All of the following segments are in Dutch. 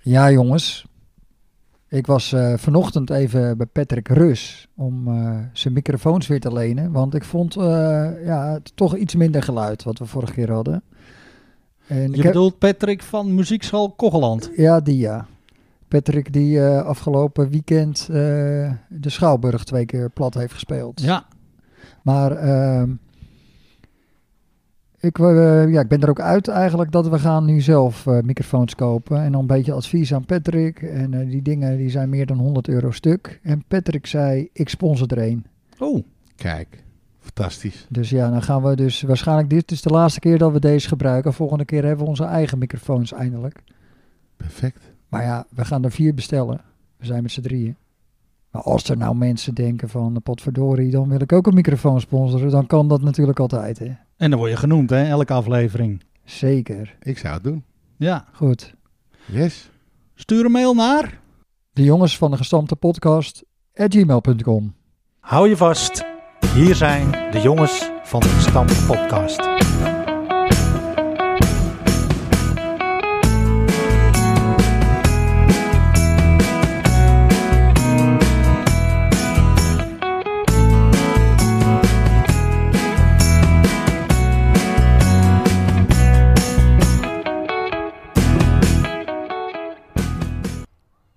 Ja, jongens. Ik was eh, vanochtend even bij Patrick Rus om eh, zijn microfoons weer te lenen. Want ik vond eh, ja, het toch iets minder geluid wat we vorige keer hadden. En ik Je bedoelt Patrick van Muziekschool Kogeland. Ja, die ja. Patrick die eh, afgelopen weekend eh, de Schouwburg twee keer plat heeft gespeeld. Ja, Maar ehm, ik, eh, ja, ik ben er ook uit eigenlijk dat we gaan nu zelf eh, microfoons kopen. En dan een beetje advies aan Patrick. En eh, die dingen die zijn meer dan 100 euro stuk. En Patrick zei, ik sponsor er een. oh, Kijk, fantastisch. Dus ja, dan gaan we dus waarschijnlijk... Dit is de laatste keer dat we deze gebruiken. Volgende keer hebben we onze eigen microfoons eindelijk. Perfect. Maar ja, we gaan er vier bestellen. We zijn met z'n drieën. Maar als er nou mensen denken van, potverdorie, dan wil ik ook een microfoon sponsoren. Dan kan dat natuurlijk altijd, hè. en dan word je genoemd, hè, elke aflevering. Zeker. Ik zou het doen. Ja, Goed. Yes. stuur een mail naar... De jongens van de gestampte podcast at gmail.com. Hou je vast. Hier zijn de jongens van de Gestampt Podcast.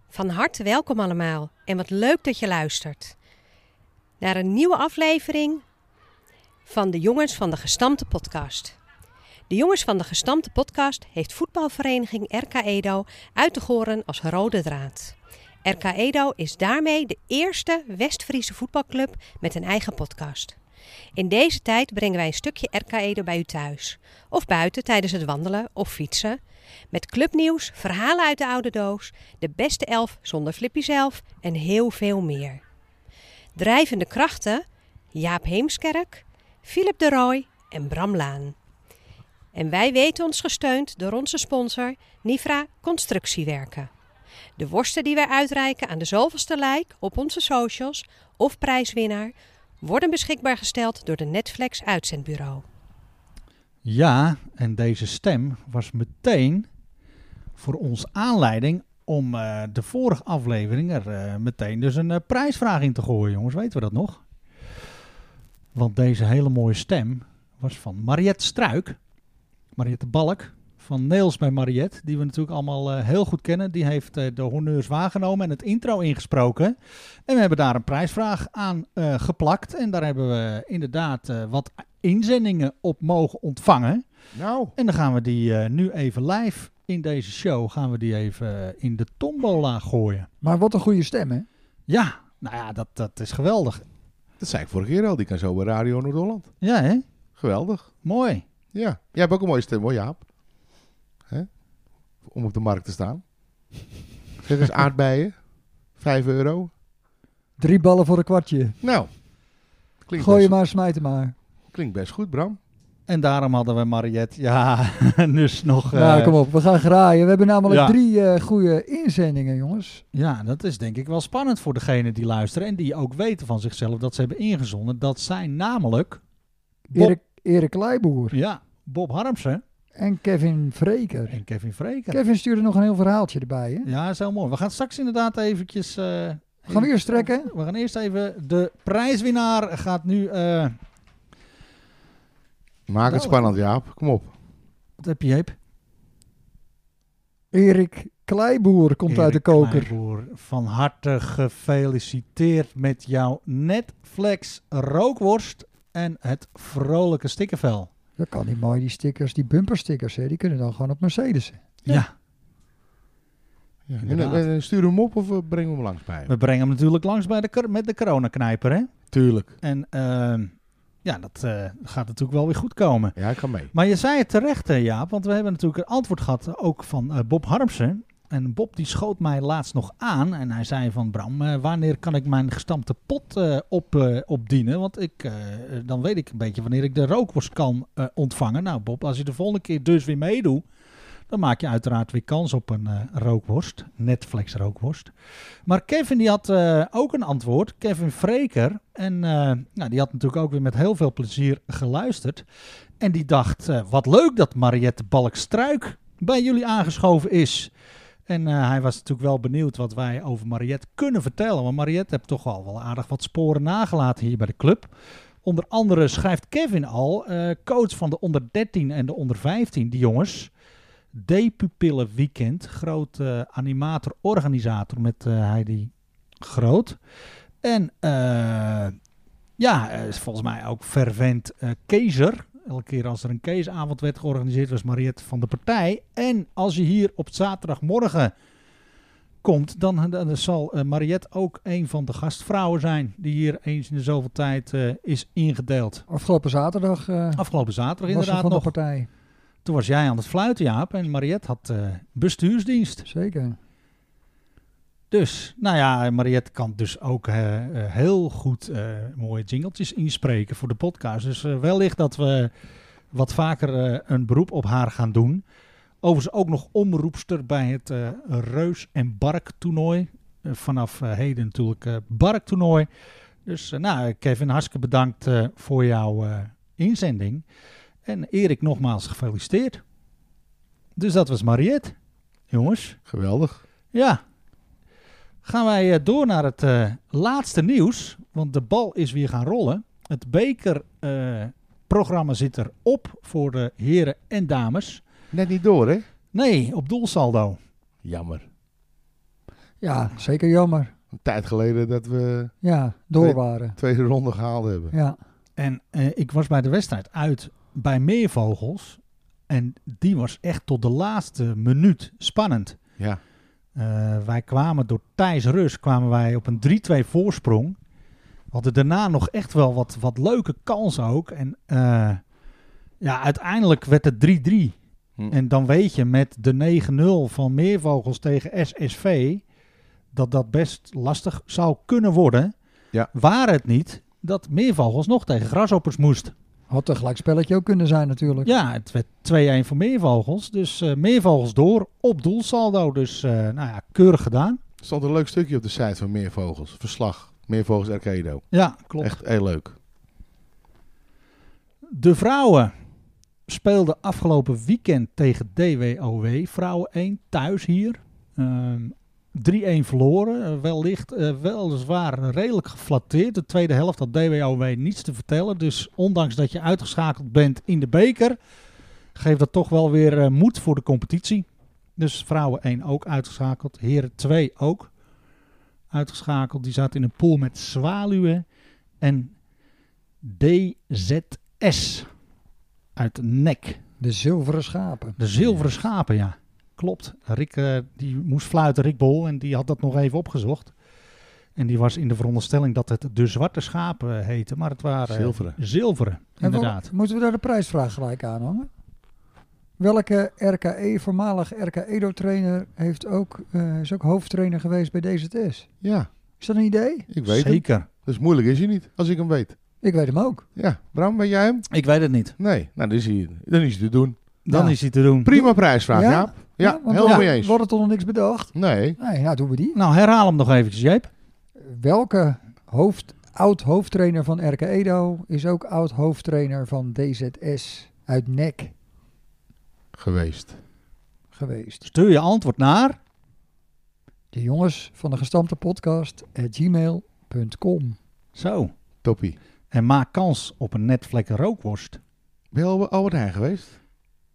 Van harte welkom allemaal en wat leuk dat je luistert naar een nieuwe aflevering van de Jongens van de Gestampte Podcast. De Jongens van de Gestampte Podcast heeft voetbalvereniging RK Edo uit te goren als rode draad. RK Edo is daarmee de eerste West-Friese voetbalclub met een eigen podcast. In deze tijd brengen wij een stukje RK Edo bij u thuis of buiten tijdens het wandelen of fietsen. Met clubnieuws, verhalen uit de oude doos, de beste elf zonder Flippy zelf en heel veel meer. Drijvende krachten Jaap Heemskerk, Philip de Rooij en Bram Laan. En wij weten ons gesteund door onze sponsor Nifra Constructiewerken. De worsten die wij uitreiken aan de zoveelste like op onze socials of prijswinnaar worden beschikbaar gesteld door de Netflix uitzendbureau. Ja, en deze stem was meteen voor ons aanleiding om eh, de vorige aflevering er eh, meteen dus een eh, prijsvraag in te gooien, jongens. Weten we dat nog? Want deze hele mooie stem was van Mariette Struik, Mariette Balk, van Nails bij Mariette, die we natuurlijk allemaal eh, heel goed kennen. Die heeft eh, de honneurs waargenomen en het intro ingesproken. En we hebben daar een prijsvraag aan eh, geplakt. En daar hebben we inderdaad eh, wat inzendingen op mogen ontvangen. Nou. En dan gaan we die eh, nu even live in deze show gaan we die even eh, in de tombola gooien. Maar wat een goede stem, hè? Ja, nou ja, dat, dat is geweldig. Dat zei ik vorige keer al. Die kan zo bij Radio Noord-Holland. Ja, hè? Geweldig. Mooi. Ja. Jij hebt ook een mooie stem hoor, Jaap. Hè? Om op de markt te staan. Zeg eens aardbeien. Vijf euro. Drie ballen voor een kwartje. Nou. Klinkt, Gooi je best, maar, smijt hem maar. klinkt best goed, Bram. En daarom hadden we Mariette. Ja, dus nog. eh, nou, kom op. We gaan graaien. We hebben namelijk ja. drie eh, goede inzendingen, jongens. Ja, dat is denk ik wel spannend voor degene die luisteren. En die ook weten van zichzelf dat ze hebben ingezonden. Dat zijn namelijk. Bob, Erik, Erik Leiboer Ja, Bob Harmsen en Kevin Vreker. en Kevin Vreker. Kevin stuurde nog een heel verhaaltje erbij, hè? Ja, is heel mooi. We gaan straks inderdaad eventjes... eh, Gaan we eerst trekken? We gaan eerst even... De prijswinnaar gaat nu... eh, Maak het Nou. spannend, Jaap. Kom op. wat heb je, Jeep? Erik Kleiboer komt uit de Erik koker. Kleinboer, van harte gefeliciteerd met jouw Netflix rookworst en het vrolijke stikkenvel. Dat kan niet mooi, die stickers, die bumperstickers, hè? Die kunnen dan gewoon op Mercedes. Ja. Ja, en, inderdaad. en stuur hem op of eh, breng hem langs bij hem? We brengen hem natuurlijk langs bij de, kor- met de coronaknijper, hè? Tuurlijk. En ehm, ja, dat eh, gaat natuurlijk wel weer goed komen. Ja, ik ga mee. Maar je zei het terecht, hè, Jaap, want we hebben natuurlijk een antwoord gehad eh, ook van eh, Bob Harmsen. En Bob die schoot mij laatst nog aan en hij zei van Bram, eh, wanneer kan ik mijn gestampte pot eh, op, eh, opdienen? Want ik, eh, dan weet ik een beetje wanneer ik de rookworst kan eh, ontvangen. Nou Bob, als je de volgende keer dus weer meedoet, dan maak je uiteraard weer kans op een eh, rookworst, Netflix rookworst. Maar Kevin die had eh, ook een antwoord, Kevin Freker. En eh, nou, die had natuurlijk ook weer met heel veel plezier geluisterd. En die dacht, eh, wat leuk dat Mariette Balkstruik bij jullie aangeschoven is. En eh, hij was natuurlijk wel benieuwd wat wij over Mariette kunnen vertellen. Want Mariette heeft toch al wel aardig wat sporen nagelaten hier bij de club. Onder andere schrijft Kevin al, eh, coach van de onder 13 en de onder 15, die jongens. D-pupillen weekend, groot eh, animator-organisator met eh, Heidi Groot. En eh, ja, eh, is volgens mij ook fervent eh kezer. Elke keer als er een keesavond werd georganiseerd, was Mariette van de partij. En als je hier op zaterdagmorgen komt, dan, dan zal eh, Mariette ook een van de gastvrouwen zijn. Die hier eens in de zoveel tijd eh, is ingedeeld. Afgelopen zaterdag eh, Afgelopen zaterdag was er Oh, inderdaad van nog. de partij. Toen was jij aan het fluiten, Jaap. En Mariette had eh, bestuursdienst. Zeker. Dus, nou ja, Mariette kan dus ook eh, eh, heel goed eh, mooie jingeltjes inspreken voor de podcast. Dus eh, wellicht dat we wat vaker eh, een beroep op haar gaan doen. Overigens ook nog omroepster bij het eh, Reus en Bark toernooi. Eh, vanaf eh, heden natuurlijk eh Bark toernooi. Dus eh, nou, Kevin, hartstikke bedankt eh, voor jouw eh, inzending. En Erik, nogmaals gefeliciteerd. Dus dat was Mariette, jongens. Geweldig. Ja. Gaan wij eh, door naar het eh, laatste nieuws. Want de bal is weer gaan rollen. Het bekerprogramma zit erop voor de heren en dames. Net niet door, hè? Nee, op doelsaldo. Jammer. Ja, zeker jammer. Een tijd geleden dat we Ja, door Twee- waren. tweede ronde gehaald hebben. Ja, En eh, ik was bij de wedstrijd uit bij Meervogels. En die was echt tot de laatste minuut spannend. Ja. Eh, wij kwamen door Thijs Rus kwamen wij op een 3-2 voorsprong. We hadden daarna nog echt wel wat, wat leuke kansen ook. En eh, ja, uiteindelijk werd het 3-3. Hm. En dan weet je met de 9-0 van Meervogels tegen SSV... dat dat best lastig zou kunnen worden. Ja. Waar het niet dat Meervogels nog tegen Grasshoppers moest. had een gelijkspelletje ook kunnen zijn natuurlijk. Ja, het werd 2-1 voor Meervogels. Dus eh, Meervogels door op doelsaldo. Dus eh, nou ja, keurig gedaan. Er stond een leuk stukje op de site van Meervogels. Verslag. Meervogels Arcado. Ja, klopt. Echt heel leuk. De vrouwen speelden afgelopen weekend tegen DWOW. Vrouwen 1 thuis hier. Ehm, 3-1 verloren. Eh, wellicht eh, weliswaar redelijk geflatteerd. De tweede helft had DWOW niets te vertellen. Dus ondanks dat je uitgeschakeld bent in de beker, geeft dat toch wel weer eh, moed voor de competitie. Dus vrouwen 1 ook uitgeschakeld. Heren 2 ook uitgeschakeld. Die zaten in een pool met Zwaluwen en DZS uit Nek. De zilveren schapen. De zilveren schapen, ja. Klopt. Rick eh, die moest fluiten, Rick Bol, en die had dat nog even opgezocht. En die was in de veronderstelling dat het de zwarte schapen heette, maar het waren eh, Zilveren. zilveren En wel- inderdaad. moeten we daar de prijsvraag gelijk aan hangen? Welke RKE, voormalig RK Edo-trainer, heeft ook, eh, is ook hoofdtrainer geweest bij DZS? Ja, Is dat een idee? ik weet het. Zeker. Dus moeilijk is hij niet, als ik hem weet. Ik weet hem ook. Ja, Bram, weet jij hem? Ik weet het niet. Nee. Nou, dan is hij, dan is hij te doen. Dan Ja. is hij te doen. Prima prijsvraag, Ja? ja. Ja, want helemaal we- mee eens. We hadden toch nog niks bedacht? Nee, Nee, nou doen we die. Nou, herhaal hem nog eventjes, Jeep. Welke hoofd, oud-hoofdtrainer van RK Edo is ook oud-hoofdtrainer van DZS uit E NEC geweest. geweest? Stuur je antwoord naar. De jongens van de gestampte podcast at gmail.com. Zo. Toppie. En maak kans op een netvlekken rookworst. Ben je al bij Albert Heijn geweest?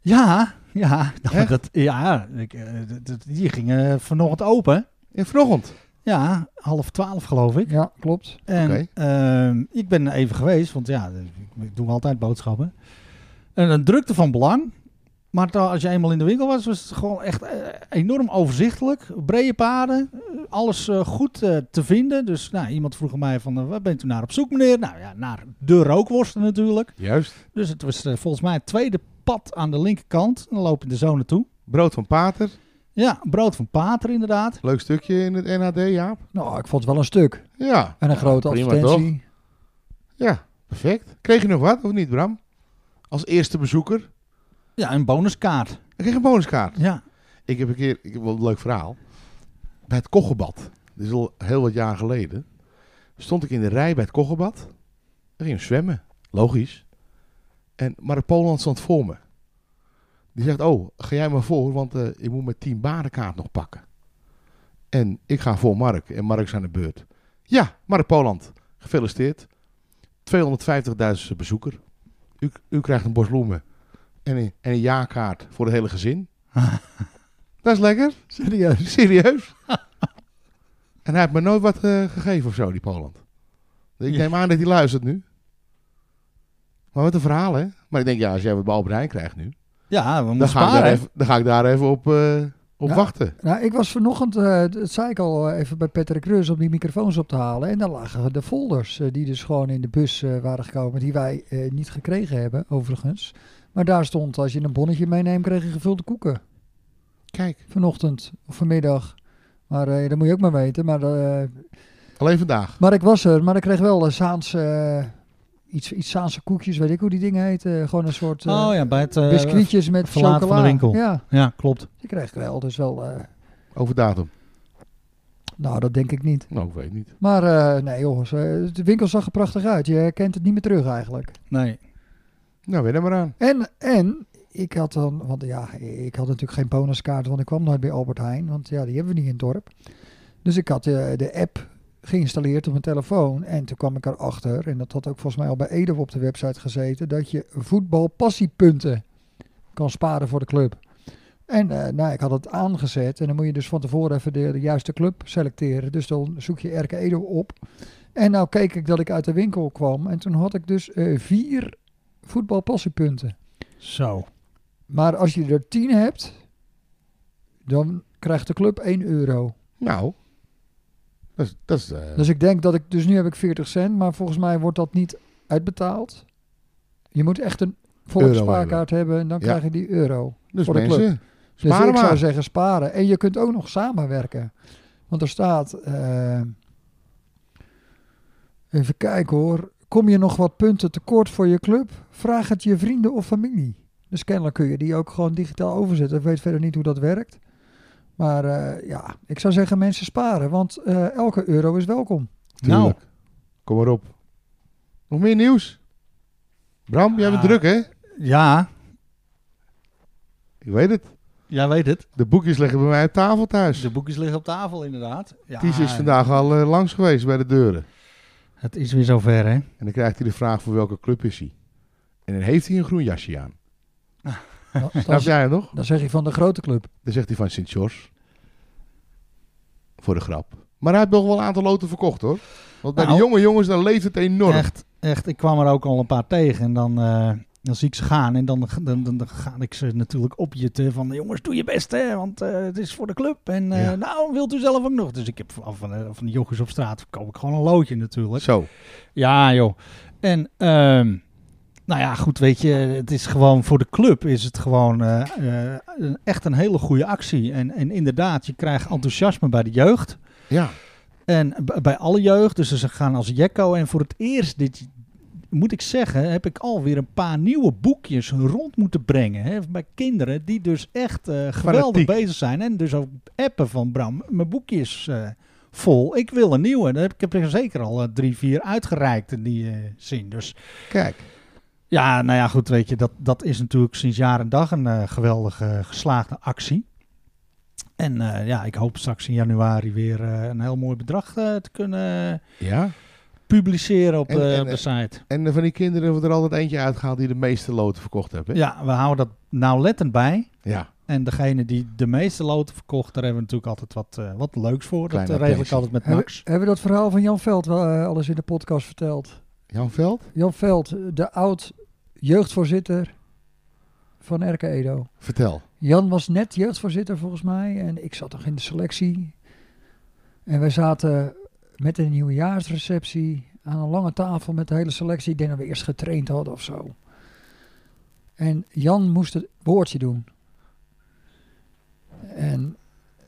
Ja, ja. nou, Echt? dat, ja ik, eh, dat- dat- die gingen eh, vanochtend open. Ja, vanochtend. Ja, half twaalf geloof ik. Ja, klopt. En Oké. ehm, ik ben even geweest, want ja, ik, ik doe altijd boodschappen. En een drukte van belang. Maar ta- als je eenmaal in de winkel was, was het gewoon echt eh, enorm overzichtelijk. Brede paden, eh, alles eh, goed eh, te vinden. Dus nou, iemand vroeg aan mij van, eh, waar bent u naar op zoek meneer? Nou ja, naar de rookworsten natuurlijk. Juist. Dus het was eh, volgens mij het tweede pad aan de linkerkant. Dan loop je de zone toe. Brood van Pater. Ja, brood van Pater inderdaad. Leuk stukje in het NAD, Jaap. Nou, ik vond het wel een stuk. Ja, En een grote prima, advertentie. ja. Perfect. Kreeg je nog wat, of niet, Bram? Als eerste bezoeker. Ja, een bonuskaart. Ik kreeg een bonuskaart. Ja, Ik heb een keer, ik heb wel een leuk verhaal. Bij het kochelbad, dit is al heel wat jaar geleden, stond ik in de rij bij het kochelbad. Er ging zwemmen, logisch. En, maar de Poland stond voor me. Die zegt, oh, ga jij maar voor, want eh, ik moet mijn team barenkaart nog pakken. En ik ga voor Mark. En Mark is aan de beurt. Ja, Mark Poland. Gefeliciteerd. 250.000 bezoeker. U, u krijgt een bos bloemen. En een, en een jaarkaart voor het hele gezin. Dat is lekker. Serieus? Serieus? en hij heeft me nooit wat eh, gegeven of zo, die Poland. Ik Ja. neem aan dat hij luistert nu. Maar wat een verhaal, hè? Maar ik denk, ja, als jij wat bij Albert Heijn krijgt nu... Ja, we Dan moeten ga, ik daar sparen. even, dan ga ik daar even op, eh, op Ja. wachten. Nou, ik was vanochtend, eh, dat zei ik al eh, even bij Patrick Reus, om die microfoons op te halen. En daar lagen de folders eh, die dus gewoon in de bus eh, waren gekomen, die wij eh, niet gekregen hebben, overigens. Maar daar stond, als je een bonnetje meeneemt, kreeg je gevulde koeken. Kijk, Vanochtend of vanmiddag. Maar eh, dat moet je ook maar weten. Maar, eh, alleen vandaag. maar ik was er, maar ik kreeg wel een Saanse, eh, iets, iets Saanse koekjes, weet ik hoe die dingen heten. Gewoon een soort eh, Oh ja, bij het... eh, biscuitjes met verlaten chocola. van de winkel. Ja, Ja, klopt. die kreeg ik wel. Dus wel, eh, Over datum. nou dat denk ik niet. Nou, ik weet het niet. Maar eh, nee jongens, eh, de winkel zag er prachtig uit. Je herkent het niet meer terug eigenlijk. Nee. Nou, weer er maar aan. En, en ik had dan, want ja, ik had natuurlijk geen bonuskaart, want ik kwam nooit bij Albert Heijn. Want ja, die hebben we niet in het dorp. Dus ik had eh, de app geïnstalleerd op mijn telefoon. En toen kwam ik erachter, en dat had ook volgens mij al bij Edo op de website gezeten, dat je voetbalpassiepunten kan sparen voor de club. En eh, nou, ik had het aangezet en dan moet je dus van tevoren even de, de juiste club selecteren. Dus dan zoek je RK Edo op. En nou keek ik dat ik uit de winkel kwam en toen had ik dus eh, vier voetbalpassiepunten. Zo. Maar als je er 10 hebt, dan krijgt de club 1 euro. Nou, dat is... Dat is eh, Dus ik denk dat ik, dus nu heb ik 40 cent, maar volgens mij wordt dat niet uitbetaald. Je moet echt een volle Euro spaarkaart hebben en dan Ja. krijg je die euro. dus voor de club. mensen, Dus sparen ik zou maar. zeggen sparen. En je kunt ook nog samenwerken. Want er staat, eh, even kijken hoor, kom je nog wat punten tekort voor je club? Vraag het je vrienden of familie. Dus kennelijk kun je die ook gewoon digitaal overzetten. Ik weet verder niet hoe dat werkt. Maar eh, ja, ik zou zeggen mensen sparen, want eh, elke euro is welkom. Nou, Tuurlijk. Kom maar op. Nog meer nieuws? Bram, jij bent Ja. druk, hè? ja, Ik weet het. jij weet het. De boekjes liggen bij mij op tafel thuis. De boekjes liggen op tafel inderdaad. Ja, Ties is Dus vandaag al eh, langs geweest bij de deuren. Het is weer zover, hè? En dan krijgt hij de vraag voor welke club is hij. En dan heeft hij een groen jasje aan. Dan, dan, Snap jij hem nog? dan zeg je van de grote club. Dan zegt hij van sint George. Voor de grap. Maar hij heeft nog wel een aantal loten verkocht hoor. Want bij Nou. de jonge jongens dan leeft het enorm. Echt, echt. Ik kwam er ook al een paar tegen. En dan, eh, dan zie ik ze gaan. En dan, dan, dan, dan ga ik ze natuurlijk opjutten. Van jongens, doe je best, hè? Want eh, het is voor de club. En eh, Ja. nou, wilt u zelf ook nog? Dus ik heb van, van, eh, van de jochies op straat. koop ik gewoon een loodje natuurlijk. Zo. Ja, joh. En, ehm, nou ja, goed, weet je, het is gewoon voor de club is het gewoon eh, eh, een- echt een hele goede actie. En, en inderdaad, je krijgt enthousiasme bij de jeugd Ja. en b- bij alle jeugd. Dus ze gaan als Jekko. En voor het eerst, dit, moet ik zeggen, heb ik alweer een paar nieuwe boekjes rond moeten brengen. Hè, bij kinderen die dus echt eh, geweldig Fanatiek. bezig zijn. En dus ook appen van Bram, mijn boekje is eh, vol. Ik wil een nieuwe. Daar heb ik heb er zeker al eh, drie, vier uitgereikt in die eh, zin. Dus Kijk. ja, nou ja, goed, weet je, dat, dat is natuurlijk sinds jaar en dag een eh, geweldige geslaagde actie. En eh, ja, ik hoop straks in januari weer eh, een heel mooi bedrag eh, te kunnen Ja. publiceren op, En- de, en, op de eh, site. En eh, van die kinderen wordt er altijd eentje uitgehaald die de meeste loten verkocht hebben. Ja, we houden dat nauwlettend bij. Ja. En degene die de meeste loten verkocht, daar hebben we natuurlijk altijd wat, eh, wat leuks voor. Klein dat eh, regel ik attentie. altijd met Hebben, Max. hebben we dat verhaal van Jan Veld wel eh, alles in de podcast verteld? Jan Veld, Jan Veld, de oud jeugdvoorzitter van RK Edo. vertel. Jan was net jeugdvoorzitter volgens mij en ik zat nog in de selectie. En wij zaten met een nieuwjaarsreceptie aan een lange tafel met de hele selectie. Ik denk dat we eerst getraind hadden of zo. En Jan moest het woordje doen. En,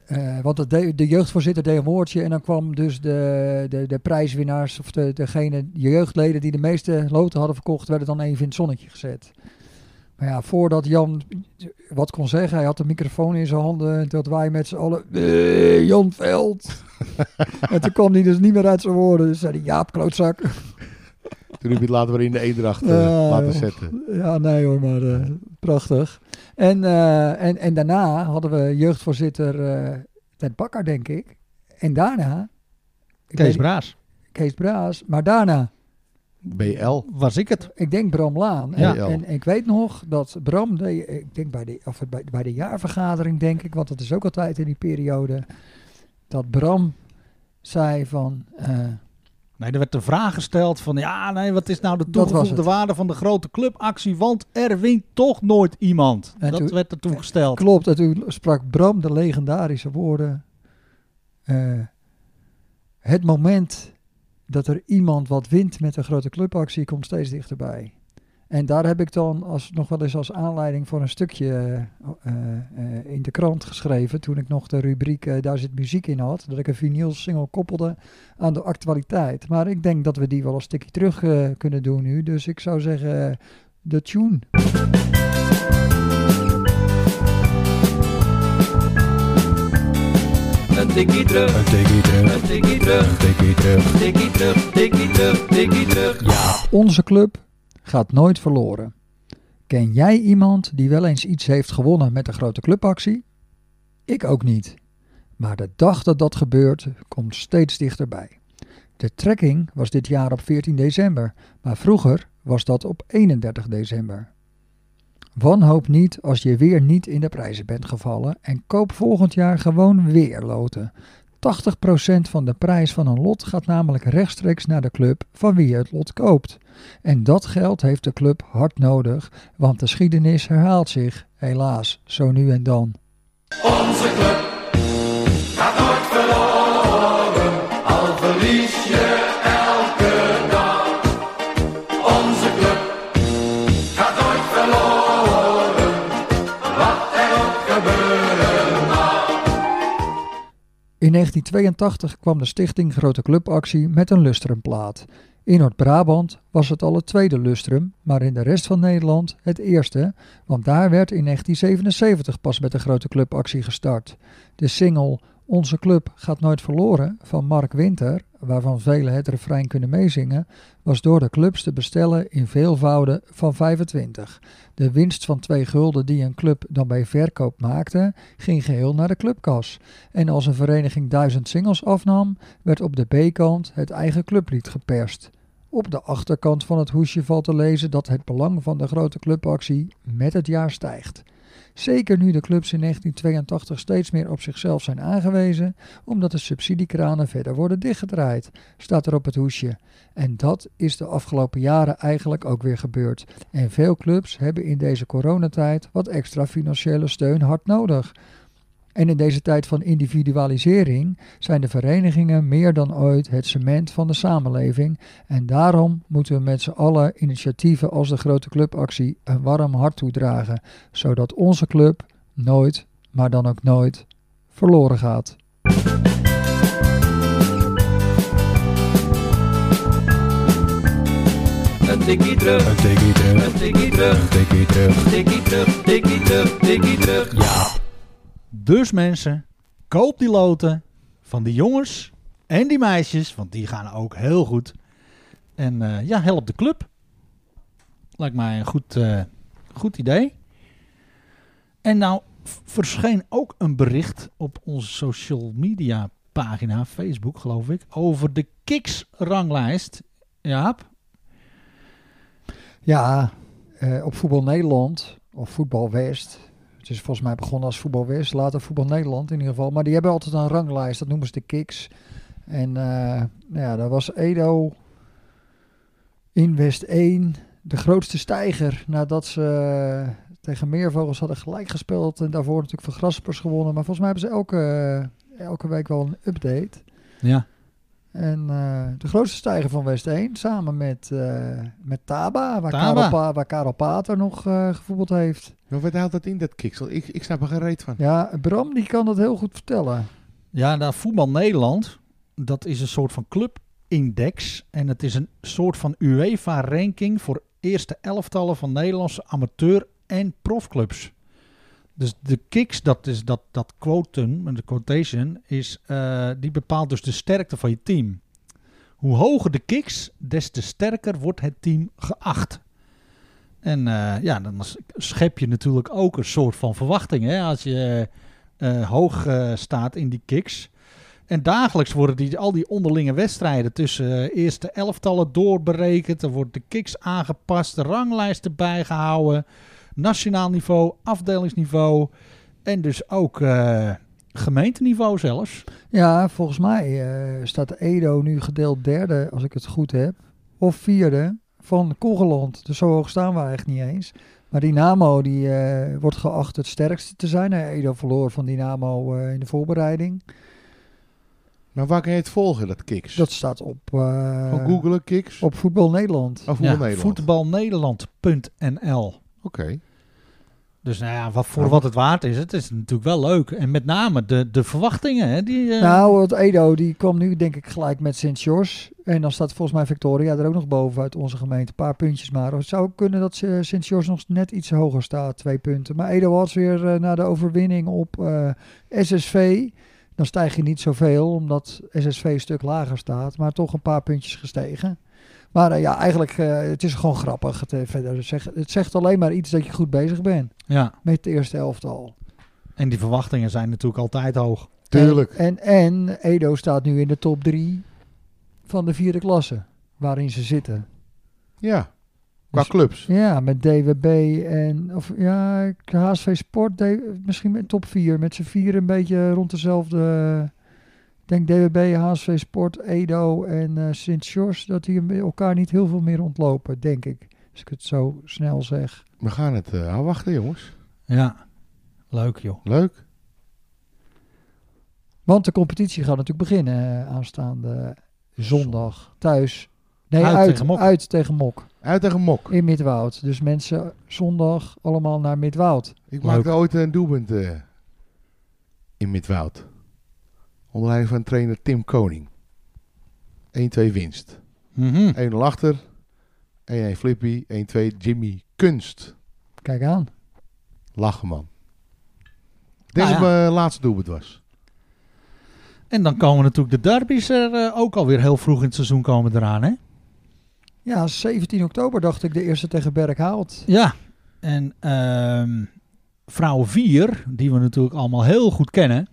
eh, want het deed- de jeugdvoorzitter deed een woordje en dan kwam dus de, de, de prijswinnaars of de, degene, de jeugdleden die de meeste loten hadden verkocht, werden dan even in het zonnetje gezet. Maar ja, voordat Jan wat kon zeggen. Hij had de microfoon in zijn handen. En dat wij met z'n allen. "Eh, Jan Veld. en toen kwam hij dus niet meer uit zijn woorden. Dus zei hij: Jaap, klootzak. Toen heb je het later weer in de eendracht eh, Ja, laten joh. zetten. ja, nee hoor, maar eh, prachtig. En, eh, en, en daarna hadden we jeugdvoorzitter eh, Ted Bakker, denk ik. En daarna... ik Kees weet- Braas, Kees Braas. Maar daarna, BL. was ik het. ik denk Bram Laan. Ja. En, en ik weet nog dat Bram, de, ik denk bij de, of bij, bij de jaarvergadering, denk ik, want dat is ook altijd in die periode, dat Bram zei van... eh, Nee, er werd de vraag gesteld van, ja, nee, wat is nou de was toegevoegde het. waarde van de grote clubactie? Want er wint toch nooit iemand. En dat toen- werd er toen gesteld. Klopt, en toen sprak Bram de legendarische woorden. eh, het moment dat er iemand wat wint met een grote clubactie komt steeds dichterbij. En daar heb ik dan als, nog wel eens als aanleiding voor een stukje eh, eh, in de krant geschreven. Toen ik nog de rubriek eh, Daar zit muziek in had. Dat ik een vinyl single koppelde aan de actualiteit. Maar ik denk dat we die wel een stukje terug eh, kunnen doen nu. Dus ik zou zeggen, eh, de tune. Een tikkie terug, Een tikkie terug, een tikkie terug, een tikkie terug. tikkie terug, tikkie terug, tikkie terug. Onze club gaat nooit verloren. Ken jij iemand die wel eens iets heeft gewonnen met de grote clubactie? Ik ook niet. Maar de dag dat dat gebeurt, komt steeds dichterbij. De trekking was dit jaar op 14 december, maar vroeger was dat op 31 december. Wanhoop niet als je weer niet in de prijzen bent gevallen en koop volgend jaar gewoon weer loten. 80% van de prijs van een lot gaat namelijk rechtstreeks naar de club van wie je het lot koopt. En dat geld heeft de club hard nodig, want de geschiedenis herhaalt zich, helaas, zo nu en dan. Onze club gaat nooit verloren, al verlies je elke dag. Onze club gaat nooit verloren, wat er ook gebeuren mag. In 1982 kwam de stichting Grote Clubactie met een lustrumplaat. In Noord-Brabant was het al het tweede lustrum, maar in de rest van Nederland het eerste, want daar werd in 1977 pas met de Grote Clubactie gestart. De single Onze Club gaat nooit verloren van Mark Winter, waarvan velen het refrein kunnen meezingen, was door de clubs te bestellen in veelvouden van 25. De winst van 2 gulden die een club dan bij verkoop maakte, ging geheel naar de clubkas. En als een vereniging duizend singles afnam, werd op de B-kant het eigen clublied geperst. Op de achterkant van het hoesje valt te lezen dat het belang van de grote clubactie met het jaar stijgt. Zeker nu de clubs in 1982 steeds meer op zichzelf zijn aangewezen, omdat de subsidiekranen verder worden dichtgedraaid, staat er op het hoesje. En dat is de afgelopen jaren eigenlijk ook weer gebeurd. En veel clubs hebben in deze coronatijd wat extra financiële steun hard nodig. En in deze tijd van individualisering zijn de verenigingen meer dan ooit het cement van de samenleving. En daarom moeten we met z'n allen initiatieven als de Grote Clubactie een warm hart toedragen. Zodat onze club nooit, maar dan ook nooit, verloren gaat. Een tikkie terug, Een tikkie terug, een tikkie terug, een tikkie terug. tikkie terug, tikkie terug, tikkie terug. Dus mensen, koop die loten van die jongens en die meisjes, want die gaan ook heel goed. En eh, ja, help de club. Lijkt mij een goed, eh, goed idee. En nou v- verscheen ook een bericht op onze social media pagina, Facebook geloof ik, over de Kiks ranglijst. Jaap, Ja, eh, op Voetbal Nederland of Voetbal West. Het is volgens mij begonnen als Voetbal West, later Voetbal Nederland in ieder geval. Maar die hebben altijd een ranglijst, dat noemen ze de kicks. En eh, nou ja, daar was Edo in West 1 de grootste stijger nadat ze eh, tegen Meervogels hadden gelijk gespeeld. En daarvoor natuurlijk van Graspers gewonnen. Maar volgens mij hebben ze elke, elke week wel een update. ja. En eh, de grootste stijger van West 1, samen met, eh, met Taba, waar, Taba. Karel Pa- waar Karel Pater nog eh, gevoetbald heeft. Maar wat houdt dat in, dat kiksel? Ik, ik snap er geen reet van. Ja, Bram die kan dat heel goed vertellen. Ja, nou, Voetbal Nederland, dat is een soort van clubindex. En het is een soort van UEFA-ranking voor eerste elftallen van Nederlandse amateur- en profclubs. Dus de kicks, dat is dat, dat quotum, de quotation, is, eh, die bepaalt dus de sterkte van je team. Hoe hoger de kicks, des te sterker wordt het team geacht. En eh, ja, dan s- schep je natuurlijk ook een soort van verwachting. Hè? Als je eh, hoog eh, staat in die kicks. En dagelijks worden die, al die onderlinge wedstrijden tussen eh, eerste elftallen doorberekend. Er wordt de kicks aangepast, de ranglijsten bijgehouden. Nationaal niveau, afdelingsniveau. En dus ook eh, gemeenteniveau zelfs. Ja, volgens mij eh, staat Edo nu gedeeld derde, als ik het goed heb. Of vierde van Kogeland. Dus zo hoog staan we eigenlijk niet eens. Maar Dynamo die, eh, wordt geacht het sterkste te zijn. Eh, Edo verloor van Dynamo eh, in de voorbereiding. Maar waar kan je het volgen, dat Kiks? Dat staat op, eh, Gewoon googelen, Kiks? op Voetbal Nederland. Of Ja, Voetbal Nederland? voetbalnederland.nl. Oké. Dus nou ja, wat, voor wat het waard is, het is natuurlijk wel leuk. En met name de, de verwachtingen. Hè, die, eh, Nou, want Edo die kwam nu denk ik gelijk met Sint-Jors. En dan staat volgens mij Victoria er ook nog boven uit onze gemeente. Een paar puntjes maar. Oh, Het zou ook kunnen dat ze- Sint-Jors nog net iets hoger staat, twee punten. Maar Edo was weer eh, na de overwinning op eh, SSV. Dan stijg je niet zoveel, omdat SSV een stuk lager staat. Maar toch een paar puntjes gestegen. Maar eh, ja, eigenlijk, eh, het is gewoon grappig. Het, eh, verder zeg, het zegt alleen maar iets dat je goed bezig bent Ja, met het eerste elftal. en die verwachtingen zijn natuurlijk altijd hoog. Tuurlijk. En, en, en Edo staat nu in de top drie van de vierde klasse, waarin ze zitten. Eh, Ja. Qua Dus- clubs. Ja, met DWB en of ja, HSV Sport, D- misschien met top vier, met z'n vier een beetje rond dezelfde. Ik denk DWB, HSV Sport, Edo en eh Sint-George, dat die elkaar niet heel veel meer ontlopen, denk ik. Als ik het zo snel zeg. We gaan het eh afwachten, jongens. Ja, leuk joh. Leuk. Want de competitie gaat natuurlijk beginnen eh, aanstaande zondag thuis. Nee, Uit uit, tegen Mok. uit tegen Mok. Uit tegen Mok. In Midwoud. Dus mensen zondag allemaal naar Midwoud. Ik Leuk. maakte ooit een doelpunt eh, in Midwoud. Onder leiding van trainer Tim Koning. 1-2 winst. Mhm. 1-0 achter. 1-1 Flippy. 1-2 Jimmy Kunst. Kijk aan. Lachen, man. Ik denk Nou dat ja. mijn eh, laatste doelpunt was. En dan komen natuurlijk de derbies er eh, ook alweer heel vroeg in het seizoen komen eraan. Hè? Ja, 17 oktober dacht ik de eerste tegen Berkhout. Ja, en ehm vrouw 4, die we natuurlijk allemaal heel goed kennen.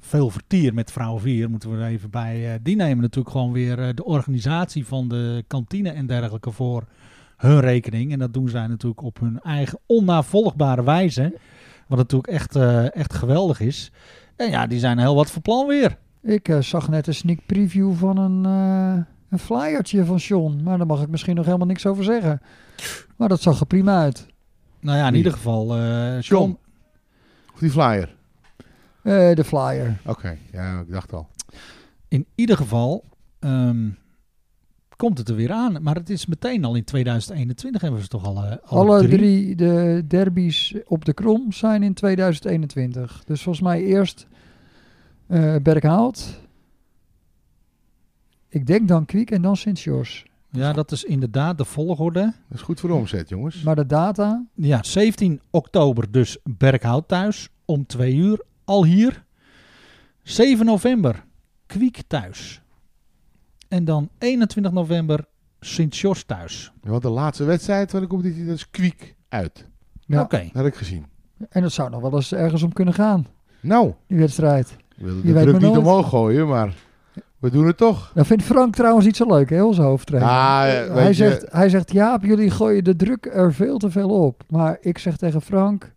Veel vertier met vrouw 4, moeten we er even bij. eh, die nemen natuurlijk gewoon weer eh, de organisatie van de kantine en dergelijke voor hun rekening. En dat doen zij natuurlijk op hun eigen onnavolgbare wijze. Wat natuurlijk echt, eh, echt geweldig is. En ja, die zijn heel wat voor plan weer. Ik eh, zag net een sneak preview van een, eh, een flyertje van Sean. Maar daar mag ik misschien nog helemaal niks over zeggen. Maar dat zag er prima uit. Nou ja, in Wie? ieder geval. eh John. Of die flyer. Eh, de flyer. Oké, ja, ik dacht al. in ieder geval ehm, komt het er weer aan. Maar het is meteen al in 2021 hebben ze toch al eh, alle, Alle drie. drie de derbies op de krom zijn in 2021. Dus volgens mij eerst eh Berkhout. Ik denk dan Kwiek en dan Sint-Jors. Ja, dat is inderdaad de volgorde. Dat is goed voor de omzet, jongens. Maar de data, Ja, 17 oktober dus Berkhout thuis om 2 uur al hier. 7 november Kwiek thuis. En dan 21 november Sint-Jos thuis. Want de laatste wedstrijd van de competitie, dat is kwiek uit. Ja. Oké. Dat heb ik gezien. en dat zou nog wel eens ergens om kunnen gaan, Nou, die wedstrijd. ik wilde weet de druk maar niet nooit. omhoog gooien, maar we doen het toch. Dat Nou, vindt Frank trouwens niet zo leuk, hè, onze hoofdtrainer. Ah, Eh, eh, weet hij, je- zegt, hij zegt, Jaap, jullie gooien de druk er veel te veel op. Maar ik zeg tegen Frank,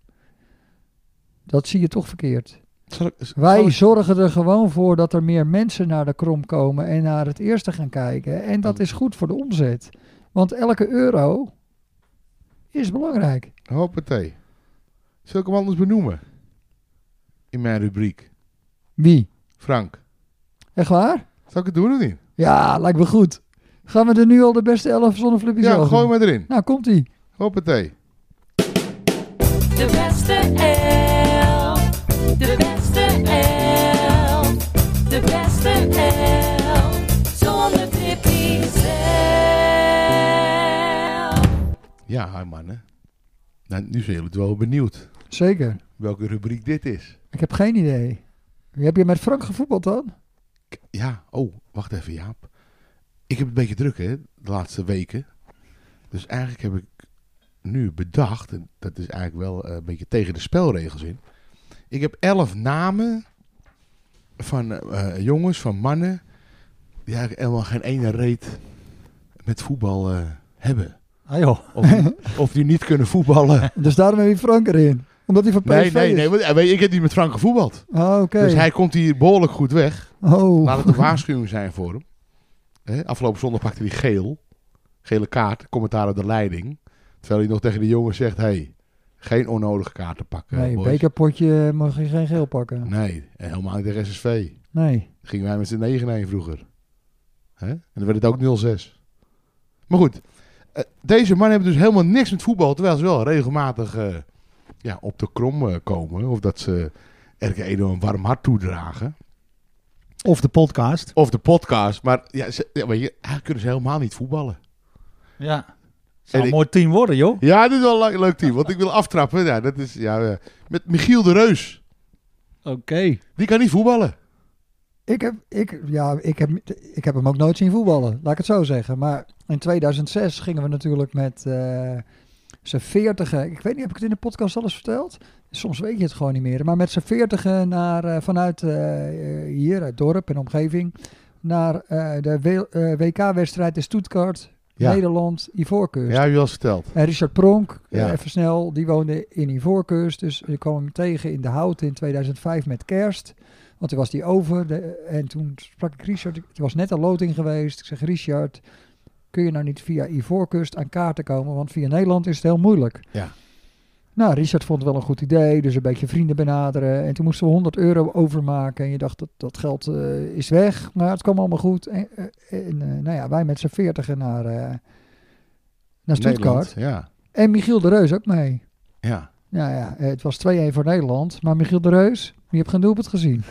dat zie je toch verkeerd. Zal ik- zal Wij ik- zorgen er gewoon voor dat er meer mensen naar de krom komen en naar het eerste gaan kijken. En Oh. dat is goed voor de omzet. Want elke euro is belangrijk. Hoppatee. Zal ik hem anders benoemen? In mijn rubriek. Wie? Frank, Echt waar? zal ik het doen of niet? Ja, lijkt me goed. Gaan we er nu al de beste elf zonder flippies Ja, over? gooi maar erin. Nou, komt ie. Hoppatee. De beste elf. De beste elf. De beste elf. Zonder trippie zelf. Ja, hi mannen. Nou, nu zijn jullie wel benieuwd Zeker. welke rubriek dit is. Ik heb geen idee. Heb je met Frank gevoetbald dan? K- Ja, oh, wacht even Jaap. Ik heb het een beetje druk hè, de laatste weken. Dus eigenlijk heb ik nu bedacht, en dat is eigenlijk wel eh, een beetje tegen de spelregels in. Ik heb elf namen van eh, eh, jongens, van mannen, die eigenlijk helemaal geen ene reet met voetbal eh, hebben. Ah joh, Of, of die niet kunnen voetballen. Dus daarom heb je Frank erin. Omdat hij van PSV Nee, nee, is. nee. Want, eh, weet je, ik heb niet met Frank gevoetbald. Ah, Oké. Dus hij komt hier behoorlijk goed weg. Oh. Laat het een waarschuwing zijn voor hem. Hè, afgelopen zondag pakte hij geel. Gele kaart, commentaar op de leiding. Terwijl hij nog tegen de jongen zegt: hey, geen onnodige kaarten pakken. Nee, boys. bekerpotje mag je geen geel pakken. Nee, en helemaal niet tegen SSV. Nee. Gingen wij met z'n 9 heen vroeger. Hè? En dan werd het ook 0-6. Maar goed, eh, deze mannen hebben dus helemaal niks met voetbal. Terwijl ze wel regelmatig eh, ja, op de krom eh, komen. Of dat ze RK Edo een warm hart toedragen. of de podcast. Of de podcast. Maar ja, ze, ja, weet je, eigenlijk kunnen ze helemaal niet voetballen. Ja. Zou En een ik- mooi team worden joh. Ja, dit is wel een leuk- leuk team. Want ik wil aftrappen. Ja, dat is, ja, eh, met Michiel de Reus. Oké. Die kan niet voetballen. Ik heb, ik, ja, ik, heb, ik heb hem ook nooit zien voetballen, laat ik het zo zeggen. Maar in 2006 gingen we natuurlijk met eh z'n veertigen... Ik weet niet, heb ik het in de podcast al eens verteld? Soms weet je het gewoon niet meer. Maar met z'n veertigen naar, eh, vanuit eh, hier, uit dorp en omgeving... naar eh, de W- eh, WK-wedstrijd in Stuttgart, Ja. Nederland, Ivoorkust. Ja, heb je wel eens verteld. En Richard Pronk, eh, Ja. even snel, die woonde in Ivoorkust. Dus ik kwam hem tegen in De Hout in 2005 met kerst. Want toen was die over. de- en toen sprak ik Richard. Het was net een loting geweest. Ik zeg, Richard, kun je nou niet via Ivoorkust aan kaarten komen? Want via Nederland is het heel moeilijk. Ja. Nou, Richard vond het wel een goed idee. Dus een beetje vrienden benaderen. En toen moesten we 100 euro overmaken. En je dacht, dat, dat geld eh, is weg. Maar het kwam allemaal goed. En, eh, en, eh, nou ja, wij met z'n veertigen naar, eh naar Stuttgart. Nederland, Ja, En Michiel de Reus ook mee. ja. Nou ja, eh, het was 2-1 voor Nederland. Maar Michiel de Reus, die heb geen doelpunt gezien.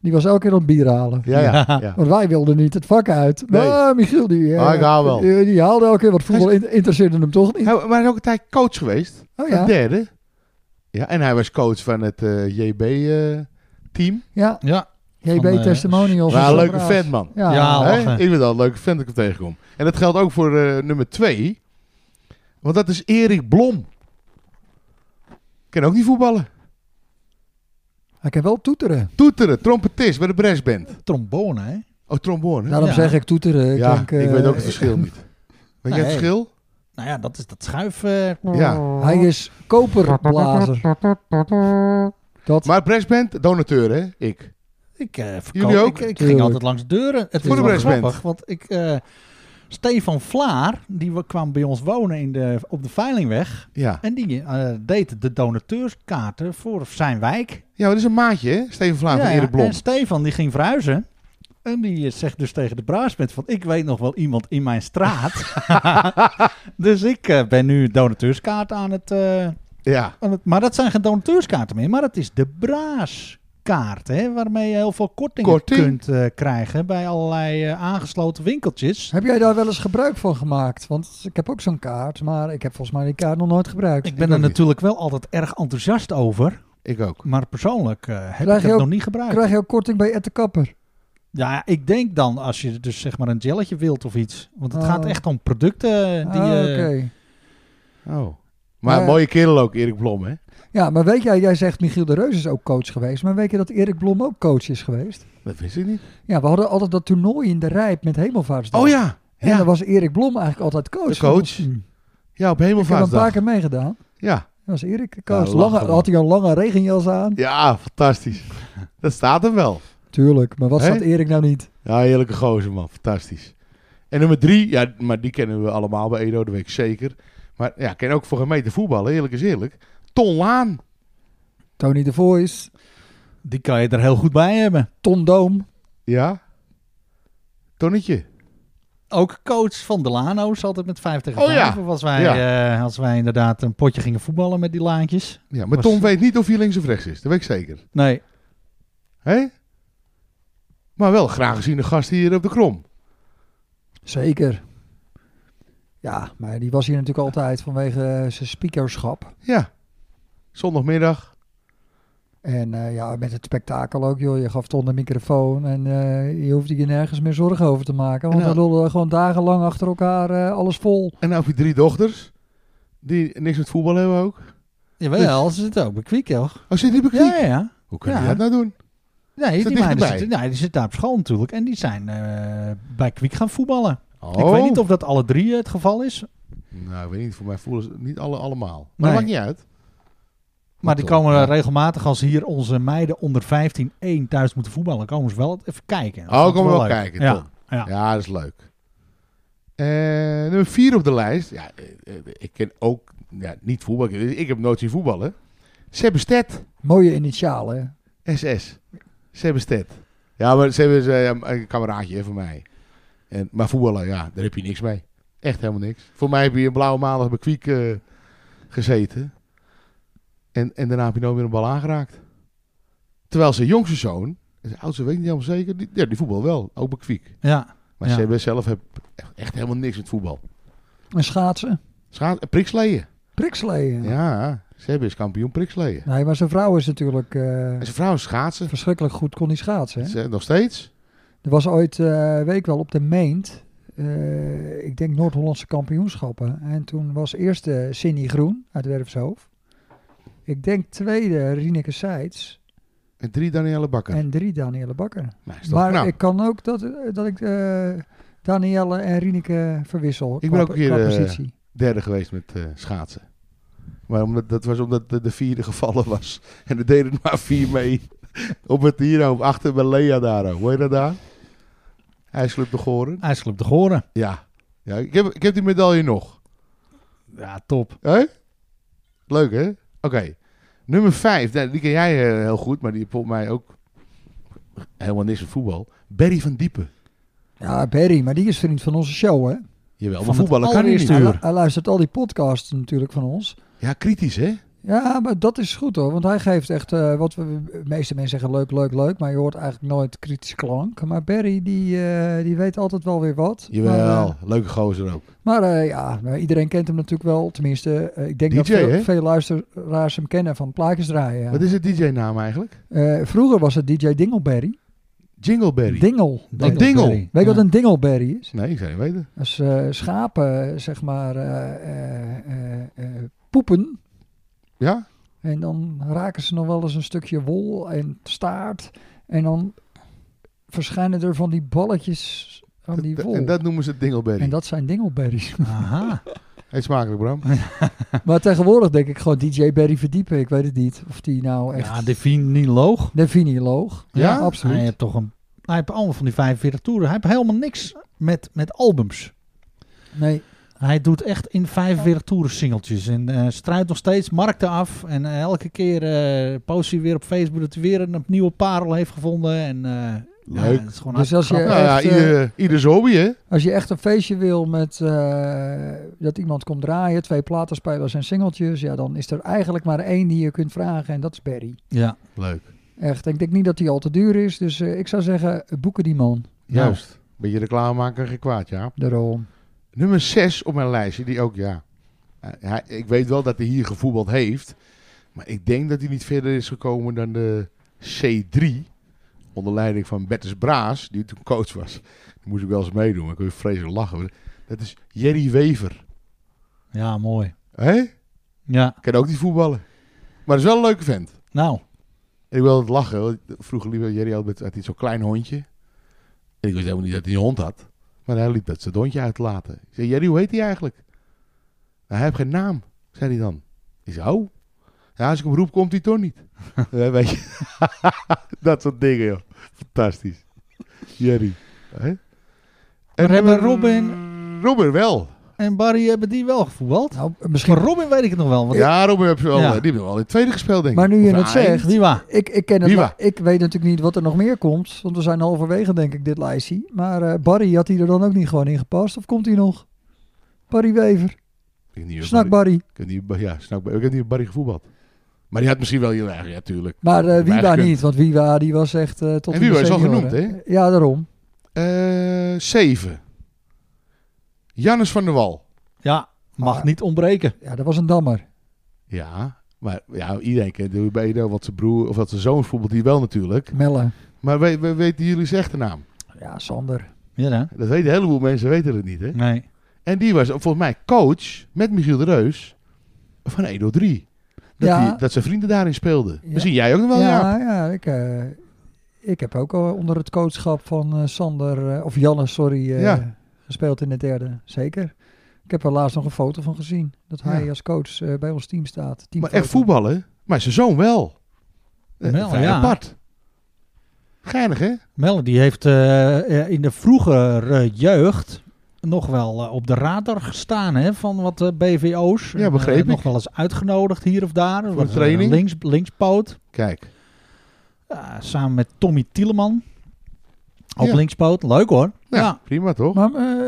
Die was elke keer aan het bier halen. Ja, ja, ja. Want wij wilden niet het vak uit. Nee. Maar Michiel, die, eh, Maar ik hou wel. die, die haalde elke keer. Want voetbal in- interesseerde hem toch niet. Hij, maar hij is ook een tijd coach geweest. Oh Een ja, derde. Ja, en hij was coach van het eh, JB-team. ja. Ja. JB Van, eh, Testimonials. maar en een zo leuke braaf. vent, man. Ja, Ja. Hè? lachen. Ik vind wel een leuke vent dat ik hem tegenkom. En dat geldt ook voor eh, nummer twee. Want dat is Erik Blom. Kan ook niet voetballen. hij kan wel toeteren. Toeteren, trompetist bij de brassband. Trombone hè. Oh, trombone. hè? Daarom Ja. zeg ik toeteren. Nou, Ik, ja, denk, eh, ik weet ook het verschil niet. Weet jij Nee. het verschil? Nou ja, dat is dat schuif. eh, Ja. Hij is koperblazer. Dat, Maar brassband, donateur hè, ik. ik, eh, verkoop- Jullie ook? ik, ik ging Tuurlijk. altijd langs de deuren. Het Voor is wel de brassband. grappig, want ik... eh, Stefan Vlaar, die wa- kwam bij ons wonen in de, op de Veilingweg. Ja. En die eh, deed de donateurskaarten voor zijn wijk. ja, maar dat is een maatje hè, Steven Vlaam Ja, van ja. Ah, Erik Blom. En Stefan die ging verhuizen. En die eh, zegt dus tegen de braasband van... ik weet nog wel iemand in mijn straat. dus ik eh, ben nu donateurskaart aan het, eh, Ja, aan het... Maar dat zijn geen donateurskaarten meer. Maar het is de braaskaart. Hè, waarmee je heel veel kortingen Korting. kunt eh, krijgen... bij allerlei eh, aangesloten winkeltjes. heb jij daar wel eens gebruik van gemaakt? Want ik heb ook zo'n kaart, maar ik heb volgens mij die kaart nog nooit gebruikt. Ik ben ook er niet. natuurlijk wel altijd erg enthousiast over. ik ook. Maar persoonlijk eh, heb Krijg ik je het ook- nog niet gebruikt. Krijg je ook korting bij Ed de Kapper? Ja, ik denk dan als je dus zeg maar een jelletje wilt of iets. Want het Oh. gaat echt om producten die... Ah, eh, oké. Oh. Maar een Maar- mooie kerel ook, Erik Blom hè. Ja, maar weet jij, jij zegt Michiel de Reus is ook coach geweest. Maar weet je dat Erik Blom ook coach is geweest? Dat wist ik niet. Ja, we hadden altijd dat toernooi in de Rijp met Hemelvaartsdag. Oh ja. En Ja, dan was Erik Blom eigenlijk altijd coach. De coach. Ik ja op heb een paar Hemelvaartsdag. keer meegedaan. Ja. Dat was Erik de coach. Ja, lange, lachen, man. had hij een lange regenjas aan? ja, fantastisch. Dat staat hem wel. Tuurlijk, maar wat Hè? staat Erik nou niet? Ja, heerlijke gozer, man. Fantastisch. En nummer drie, ja, maar die kennen we allemaal bij Edo, dat weet ik zeker. Maar ja, ken ook voor gemeente voetballen, eerlijk is eerlijk. Ton Laan. Tony de Voice, Die kan je er heel goed bij hebben. Ton Doom. Ja. Tonnetje. Ook coach van de Lano's, altijd met 5 tegen Oh 5. ja. Als, wij, eh, als wij inderdaad een potje gingen voetballen met die laantjes. Ja, maar Was- Ton weet niet of hij links of rechts is, dat weet ik zeker. Nee, Hé? Maar wel graag gezien de gast hier op de krom. Zeker. Ja, maar die was hier natuurlijk altijd vanwege eh, zijn speakerschap. Ja. Zondagmiddag. En eh, ja, met het spektakel ook, joh. Je gaf Ton de microfoon en eh, je hoefde je nergens meer zorgen over te maken. Want Nou. we lullen gewoon dagenlang achter elkaar eh, alles vol. En nou heb je drie dochters. Die niks met voetbal hebben ook. Jawel, ze zit ook bij Kwiekel. Oh, zit die bij Kwiek? Ja, ja, ja. Hoe kan Ja. je dat nou doen? Nee, Is dat die meiden dichterbij? zitten, nee, die zitten daar op school natuurlijk. En die zijn eh, bij Kwiek gaan voetballen. Oh. Ik weet niet of dat alle drie eh, het geval is. Nou, ik weet niet. Voor mij voelen ze niet alle, allemaal. Maar Nee. dat maakt niet uit. Maar die toch, komen ja. eh, regelmatig als hier onze meiden onder 15 1 thuis moeten voetballen. Komen ze wel even kijken. Dat Oh, vond ik komen we wel leuk. kijken, Ja, Tom. ja. Ja, dat is leuk. Eh, nummer vier op de lijst. Ja, eh, eh, ik ken ook ja, niet voetbal. Ik- Ik heb nooit zien voetballen. Sebestet. Mooie initialen. hè? SS. Sebestet. Ja, maar Seb is eh, een kameraadje hè, van mij. En, maar voetballen, ja, daar heb je niks mee. Echt helemaal niks. Voor mij heb je een blauwe maandag bij Kwiek eh, gezeten. En, en daarna heb je nooit meer een bal aangeraakt. Terwijl zijn jongste zoon, zijn oudste weet ik niet helemaal zeker, die, ja, die voetbal wel, ook bij Kwiek. Ja. Maar Ja. CB zelf heeft echt, echt helemaal niks met voetbal. En schaatsen. Schaats, eh, priksleeën. Priksleeën. Ja, CB is kampioen priksleeën. Nee, maar zijn vrouw is natuurlijk eh, En zijn vrouw is schaatsen. verschrikkelijk goed kon die schaatsen. hè? Ze- nog steeds. Er was ooit, eh, weet ik wel, op de Meent, eh, ik denk Noord-Hollandse kampioenschappen. En toen was eerste Cindy Groen uit Werfshoofd. Ik denk tweede Rieneke Seitz En drie Danielle Bakker. en drie Danielle Bakker. Nou, is toch Maar knap. ik kan ook dat, dat ik eh, Danielle en Rieneke verwissel. ben qua- ook een keer, qua eh, positie. derde geweest met eh, schaatsen. Maar omdat, dat was omdat de, de vierde gevallen was. En er deden er maar vier mee. op het hier, op achter bij Lea daar. Hoe heet dat daar? IJsselop de Goren. IJsselclub de Goren. Ja. ja ik, heb, ik heb die medaille nog. Ja, top. Hé? Leuk, hè? Oké. Nummer 5. die ken jij eh, heel goed, maar die heeft volgens mij ook helemaal niks met voetbal. Berry van Diepen. Ja, Berry, maar die is vriend van onze show, hè? Jawel, Van maar het voetballen kan hij niet. allereerste Hij, uur. lu- hij luistert al die podcasts natuurlijk van ons. Ja, kritisch, hè? Ja, maar dat is goed hoor. Want hij geeft echt eh, wat we de meeste mensen zeggen leuk, leuk, leuk. Maar je hoort eigenlijk nooit kritische klank. Maar Barry, die, eh, die weet altijd wel weer wat. Maar, Jawel, eh, leuke gozer ook. maar eh, ja, nou, iedereen kent hem natuurlijk wel. Tenminste, eh, ik denk dat DJ, veel, hè? veel luisteraars hem kennen van plaatjes draaien. ja. Wat is het DJ-naam eigenlijk? Eh, vroeger was het DJ Dingelberry. Jingleberry. Dingel. Een dingel. Berry. Weet je Ja. wat een dingelberry is? nee, ik zou niet weten. Dat is eh, schapen, zeg maar, eh, eh, eh, eh, poepen. Ja? En dan raken ze nog wel eens een stukje wol en staart. En dan verschijnen er van die balletjes aan die Dat- wol. en dat noemen ze Dingleberry. En dat zijn dingelberries. Aha. Hey, smakelijk, Bram. maar tegenwoordig denk ik gewoon DJ Berry verdiepen. Ik weet het niet of die nou echt... Ja, de vinoloog. de viniloog. Ja? absoluut. Hij heeft toch een... Hij heeft allemaal van die 45 toeren. Hij heeft helemaal niks met, met albums. Nee, Hij doet echt in 45 toeren singeltjes. En eh struit nog steeds markten af. En eh, elke keer eh, post hij weer op Facebook dat hij weer een nieuwe parel heeft gevonden. En, eh, Leuk. Ja, het is gewoon Dus als je- hartstikke nou ja, echt, eh, ieder, ieder zijn hobby, hè? als je echt een feestje wil met eh, dat iemand komt draaien, twee platenspelers en singeltjes, ja, dan is er eigenlijk maar één die je kunt vragen en dat is Berry. grappig. Ja. Leuk. Echt, ik denk niet dat die al te duur is, dus eh, ik zou zeggen, boeken die man. Juist. Beetje reclame maken, geen kwaad, ja. Daarom. Nummer 6 op mijn lijstje, die ook, ja. Eh, hij- ik weet wel dat hij hier gevoetbald heeft. Maar ik denk dat hij niet verder is gekomen dan de C3. Onder leiding van Bertus Braas, die toen coach was. Daar moest ik wel eens meedoen, maar ik kon vreselijk lachen. Dat is Jerry Wever. ja, mooi. Hé? Ja, Kan ook niet voetballen. Maar is wel een leuke vent. nou. En ik wilde het lachen. want Vroeger liep Jerry altijd met had hij zo'n klein hondje. En ik wist helemaal niet dat hij een hond had. Maar hij liep dat zijn hondje uit te laten. Ik zei, Jerry, hoe heet hij eigenlijk? Nou, hij heeft geen naam, zei hij dan. Ik zei, oh. Ja, als ik hem roep, komt hij toch niet. Ja, Weet je. dat soort dingen, joh. Fantastisch. Jerry. Hè? En Maar eh, hebben nummer- Robin- Robin wel. En Barry hebben die wel gevoetbald. Nou, Maar misschien Robin weet ik het nog wel. Want Ja, Robin heeft wel, eh, Ja. die heeft wel in het tweede gespeeld, denk ik. Maar nu je Of het A1. zegt, Wie waar? Ik, ik ken het. Wie la- waar? Ik weet natuurlijk niet wat er nog meer komt. Want we zijn halverwege, denk ik, dit lijstje. Maar eh, Barry, had hij er dan ook niet gewoon in gepast? Of komt hij nog? Barry Wever. Ik weet niet of- Snak Barry. Ik heb niet, ja, snap, ik heb niet op Barry gevoetbald. Maar die had misschien wel heel erg, ja, tuurlijk. Maar eh Maar Wiwa eigenlijk- niet, want Wiwa die was echt eh, tot En in de Wiwa is al senioren. genoemd, Ja, daarom. Eh, Zeven. Jannes van der Wal. Ja, mag Ah. niet ontbreken. Ja, dat was een dammer. Ja, maar ja, iedereen kent de Bedo, wat zijn broer of wat zijn zoon voetbalt, die wel natuurlijk. Melle. Maar we, we weten jullie zijn echte naam. Ja, Sander. Ja, hè? Dat weten een heleboel mensen, weten het niet. Hè? Nee. En die was volgens mij coach met Michiel de Reus van 1 door 3. Dat, Ja. die, dat zijn vrienden daarin speelden. Ja. Misschien jij ook nog wel, Jaap. ja, ja, ik, eh, ik heb ook al onder het coachschap van eh, Sander, eh, of Janne, sorry, eh, Ja. gespeeld in de derde. Zeker. Ik heb er laatst nog een foto van gezien. Dat hij Ja. als coach eh, bij ons team staat. Maar Teamfoto. echt voetballen? Maar zijn zoon wel. Eh, Wel, vrij ja. apart. Geinig, hè? Melle die heeft eh, eh, in de vroegere jeugd nog wel eh, op de radar gestaan hè, van wat eh, BVO's. Ja, begreep Eh, ik. Nog wel eens uitgenodigd hier of daar. Wat, eh, training. Links, linkspoot. Kijk. Ja, samen met Tommy Tieleman. Ook Ja. linkspoot. Leuk hoor. Nou, Ja. prima toch? Maar eh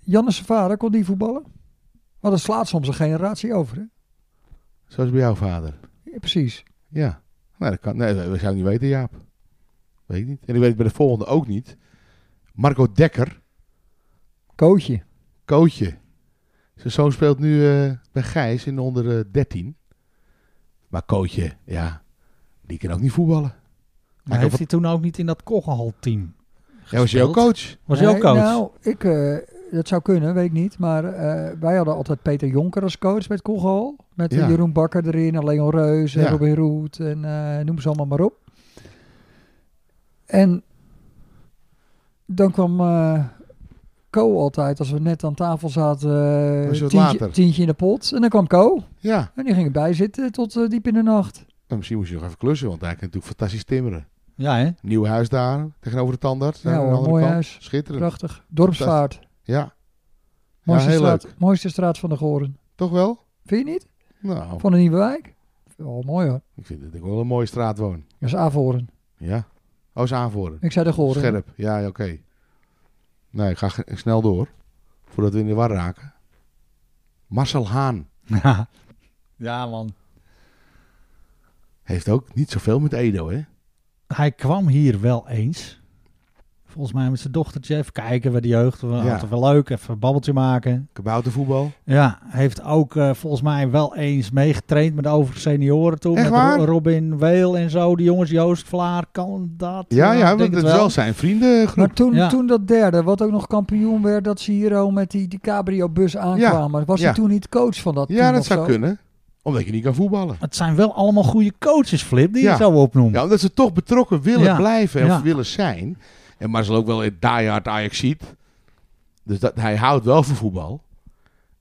Janne Savara, kon die voetballen? Maar dat slaat soms een generatie over, hè? Zoals bij jouw vader. Ja, precies. Ja. Nou, dat kan. Nee, we zouden niet weten, Jaap. Weet ik niet. En ik weet het bij de volgende ook niet. Marco Dekker, Kootje. coachje. Zijn zoon speelt nu eh, bij Gijs in de onder eh, 13. Maar coachje, ja, die kan ook niet voetballen. Maar heb heeft hij toen ook niet in dat Koggenhal team Ja, was je ook coach? Was hij ook Nee, coach? Nou, ik, eh, dat zou kunnen, weet ik niet. Maar eh, wij hadden altijd Peter Jonker als coach met Kogel. Met eh, Ja. Jeroen Bakker erin, en Leon Reus, en Ja. Robin Roet en eh, noem ze allemaal maar op. En dan kwam eh Co altijd, als we net aan tafel zaten, eh, Was je wat tientje, later? tientje in de pot. En dan kwam Co Ja. en die ging erbij zitten tot eh, diep in de nacht. Nou, misschien moest je nog even klussen, want hij kan natuurlijk fantastisch timmeren. Ja, hè? Nieuw huis daar, tegenover de tandarts. Ja daar aan de hoor, andere mooi kant. huis. Schitterend. Prachtig. Dorpsvaart. Ja. Ja, Mooiste, heel leuk. straat, mooiste straat van de Goren. Toch wel? Vind je niet? Nou, Van de Nieuwe Wijk? Wel mooi hoor. ik vind dat ik wel een mooie straat woon. Dat is Avoren. Ja. Oh, is aanvoren. Ik zei de Goren. Scherp. Ja, ja, oké. Nee, ik ga ge- snel door. Voordat we in de war raken. Marcel Haan ja, man. heeft ook niet zoveel met Edo, hè? Hij kwam hier wel eens. Volgens mij met zijn dochtertje. Even kijken bij de jeugd. We Ja. hadden wel leuk. Even een babbeltje maken. Kaboutervoetbal. Ja, heeft ook eh, volgens mij wel eens meegetraind met de overige senioren toen. Echt met waar? Ro- Robin Weel en zo. Die jongens, Joost Vlaar, kan dat? Ja, ja, ik denk want het is wel zijn vriendengroep. Maar toen, Ja. toen dat derde, wat ook nog kampioen werd, dat ze hier al met die, die cabrio-bus aankwamen. Was Ja. hij toen niet coach van dat team ja, dat of zou zo? kunnen. Omdat je niet kan voetballen. Het zijn wel allemaal goede coaches, Flip, die Ja. je zo opnoemt. Ja, omdat ze toch betrokken willen Ja. blijven en Ja. willen zijn. En Marcel ook wel een diehard Ajax ziet. Dus dat, hij houdt wel van voetbal.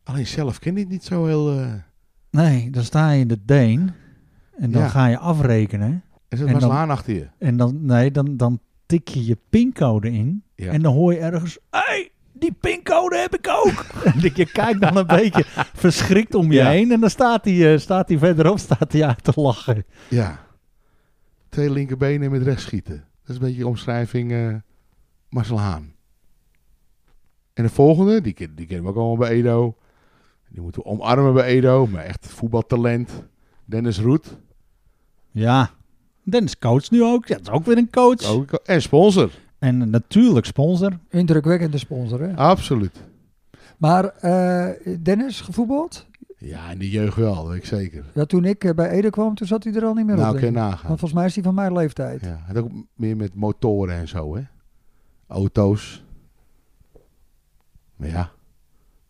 Alleen zelf kent hij het niet zo heel... eh, Nee, dan sta je in de Deen en dan Ja. ga je afrekenen. Er zit En Marcel dan- Haan achter je. En dan, nee, dan, dan tik je je pincode in Ja. en dan hoor je ergens... Hey, die pincode heb ik ook. En je kijkt dan een beetje verschrikt om je Ja. heen. En dan staat hij, eh, staat hij verderop staat hij uit te lachen. Ja. Twee linkerbenen en met rechts schieten. Dat is een beetje de omschrijving eh, Marcel Haan. En de volgende, die, ken- die kennen we ook allemaal bij Edo. Die moeten we omarmen bij Edo. Maar echt voetbaltalent. Dennis Roet. Ja, Dennis coach nu ook. Ja, dat is ook weer een coach. Ook- En sponsor. En natuurlijk sponsor. Indrukwekkende sponsor, hè? Absoluut. Maar eh, Dennis, gevoetbald? Ja, in de jeugd wel, dat weet ik zeker. Ja, toen ik eh, bij Ede kwam, toen zat hij er al niet meer Nou, op. kun je denk ik. nagaan. Want volgens mij is hij van mijn leeftijd. Ja, het ook meer met motoren en zo, hè? Auto's. Maar ja,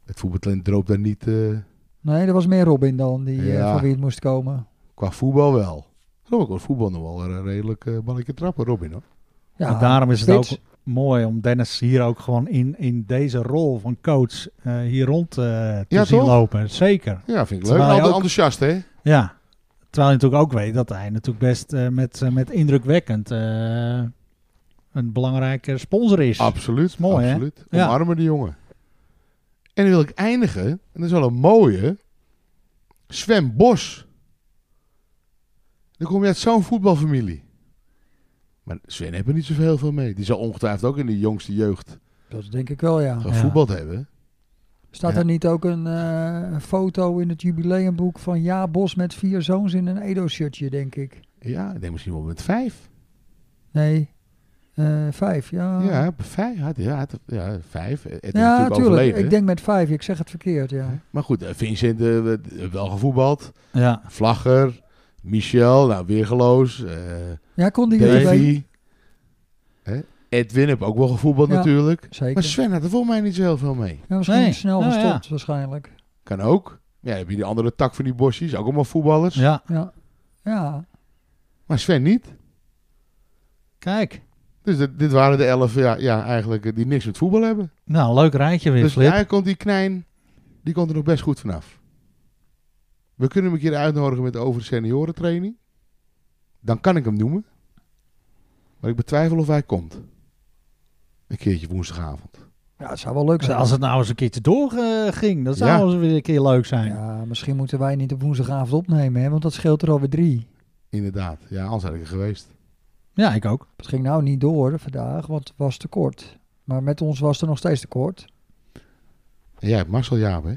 het voetbaltalent droopt daar niet eh, Nee, er was meer Robin dan, die, eh, Ja. van wie het moest komen. qua voetbal wel. Geloof ik, hoor, voetbal nog wel een redelijk eh balletje trappen, Robin, hoor. Ja, Maar daarom is het spits. ook mooi om Dennis hier ook gewoon in, in deze rol van coach eh, hier rond eh, te Ja, zien toch? lopen. Zeker. Ja, vind ik leuk. Terwijl je Altijd ook- enthousiast, hè? Ja. Terwijl je natuurlijk ook weet dat hij natuurlijk best eh, met, eh, met indrukwekkend eh, een belangrijke sponsor is. Absoluut. is mooi, hè? absoluut. Ja. Omarmen die jongen. En dan wil ik eindigen, en dat is wel een mooie, Sven Bos. Dan kom je uit zo'n voetbalfamilie. Maar Sven heeft er niet zoveel heel veel mee. Die zal ongetwijfeld ook in de jongste jeugd Dat denk ik wel, ja. gevoetbald hebben. Staat Ja. er niet ook een eh, foto in het jubileumboek van Ja Bos met vier zoons in een Edo-shirtje, denk ik? Ja, ik denk misschien wel met vijf. Nee, eh, vijf, ja. Ja, vijf. Had, ja, had- ja, vijf. Het is Ja, natuurlijk natuurlijk. overleden. Ik denk met vijf, ik zeg het verkeerd, ja. Maar goed, eh, Vincent eh, eh, wel gevoetbald. Ja. Vlagger. Michel, nou, weergeloos. eh, Ja, kon die weer bij- Davy. Hè? Edwin heb ook wel gevoetbald Ja. natuurlijk. Zeker. Maar Sven had er volgens mij niet zo heel veel mee. ja, misschien Nee. snel Nou, gestopt, waarschijnlijk. Kan ook. Ja, heb je die andere tak van die bosjes, ook allemaal voetballers. Ja, Ja. Ja. Maar Sven niet. kijk. Dus dit, dit waren de elf ja, ja, eigenlijk eh, die niks met voetbal hebben. Nou, leuk rijtje weer, dus Flip. daar komt die Knijn, die komt er nog best goed vanaf. We kunnen hem een keer uitnodigen met de over seniorentraining. Dan kan ik hem noemen. Maar ik betwijfel of hij komt. Een keertje woensdagavond. ja, het zou wel leuk zijn. Als het nou eens een keertje doorging, dat zou Ja. eens weer een keer leuk zijn. Ja, misschien moeten wij niet op woensdagavond opnemen, hè, want dat scheelt er alweer drie. Inderdaad. Ja, anders had ik er geweest. Ja, ik ook. Het ging nou niet door vandaag, want het was te kort. Maar met ons was het er nog steeds te kort. En jij hebt Marcel Jaap, hè?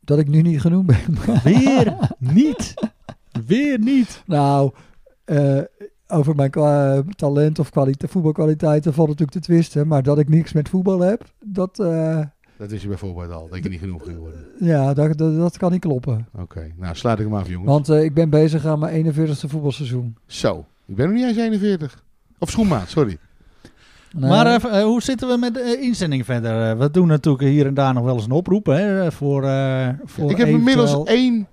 Dat ik nu niet genoemd ben. Weer niet. Weer niet. Nou, eh, over mijn kwa- talent of kwalite- voetbalkwaliteiten valt natuurlijk te twisten. Maar dat ik niks met voetbal heb, dat, eh, Dat wist je bijvoorbeeld al, dat je niet genoeg ging worden. ja, dat, dat, dat kan niet kloppen. Oké, nou sluit ik hem af, jongens. Want eh, ik ben bezig aan mijn 41ste voetbalseizoen. Zo, ik ben nog niet eens 41. Of schoenmaat, sorry. Nee, Maar eh, v- eh, hoe zitten we met de inzending verder? Eh, we doen natuurlijk hier en daar nog wel eens een oproep hè, eh, voor, eh, voor ik heb inmiddels eventueel- één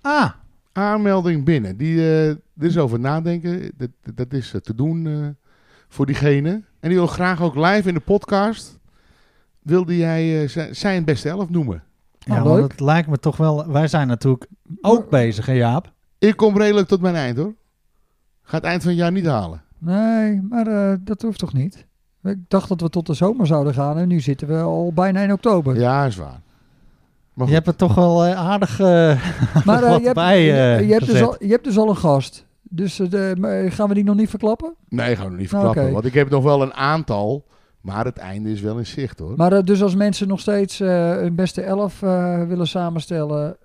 Ah, aanmelding binnen. Die, eh er is over nadenken. Dat, dat- dat is eh, te doen eh, voor diegene. En die wil graag ook live in de podcast. Wilde jij eh, zi- zijn beste elf noemen? Nou, ja, want leuk. het lijkt me toch wel... Wij zijn natuurlijk ook bezig, hè Jaap? Ik kom redelijk tot mijn eind hoor. Ga het eind van het jaar niet halen. Nee, maar eh, dat hoeft toch niet? Ik dacht dat we tot de zomer zouden gaan en nu zitten we al bijna in oktober. Ja, is waar. Maar Je goed, hebt het toch wel eh, aardig... eh, Maar eh, Wat je, hebt, bij, eh, je, hebt dus gezet. al, je hebt dus al een gast. Dus eh, de- maar gaan we die nog niet verklappen? nee, gaan we nog niet Nou, verklappen. oké. Want ik heb nog wel een aantal. Maar het einde is wel in zicht hoor. Maar eh, dus als mensen nog steeds eh, hun beste elf eh, willen samenstellen.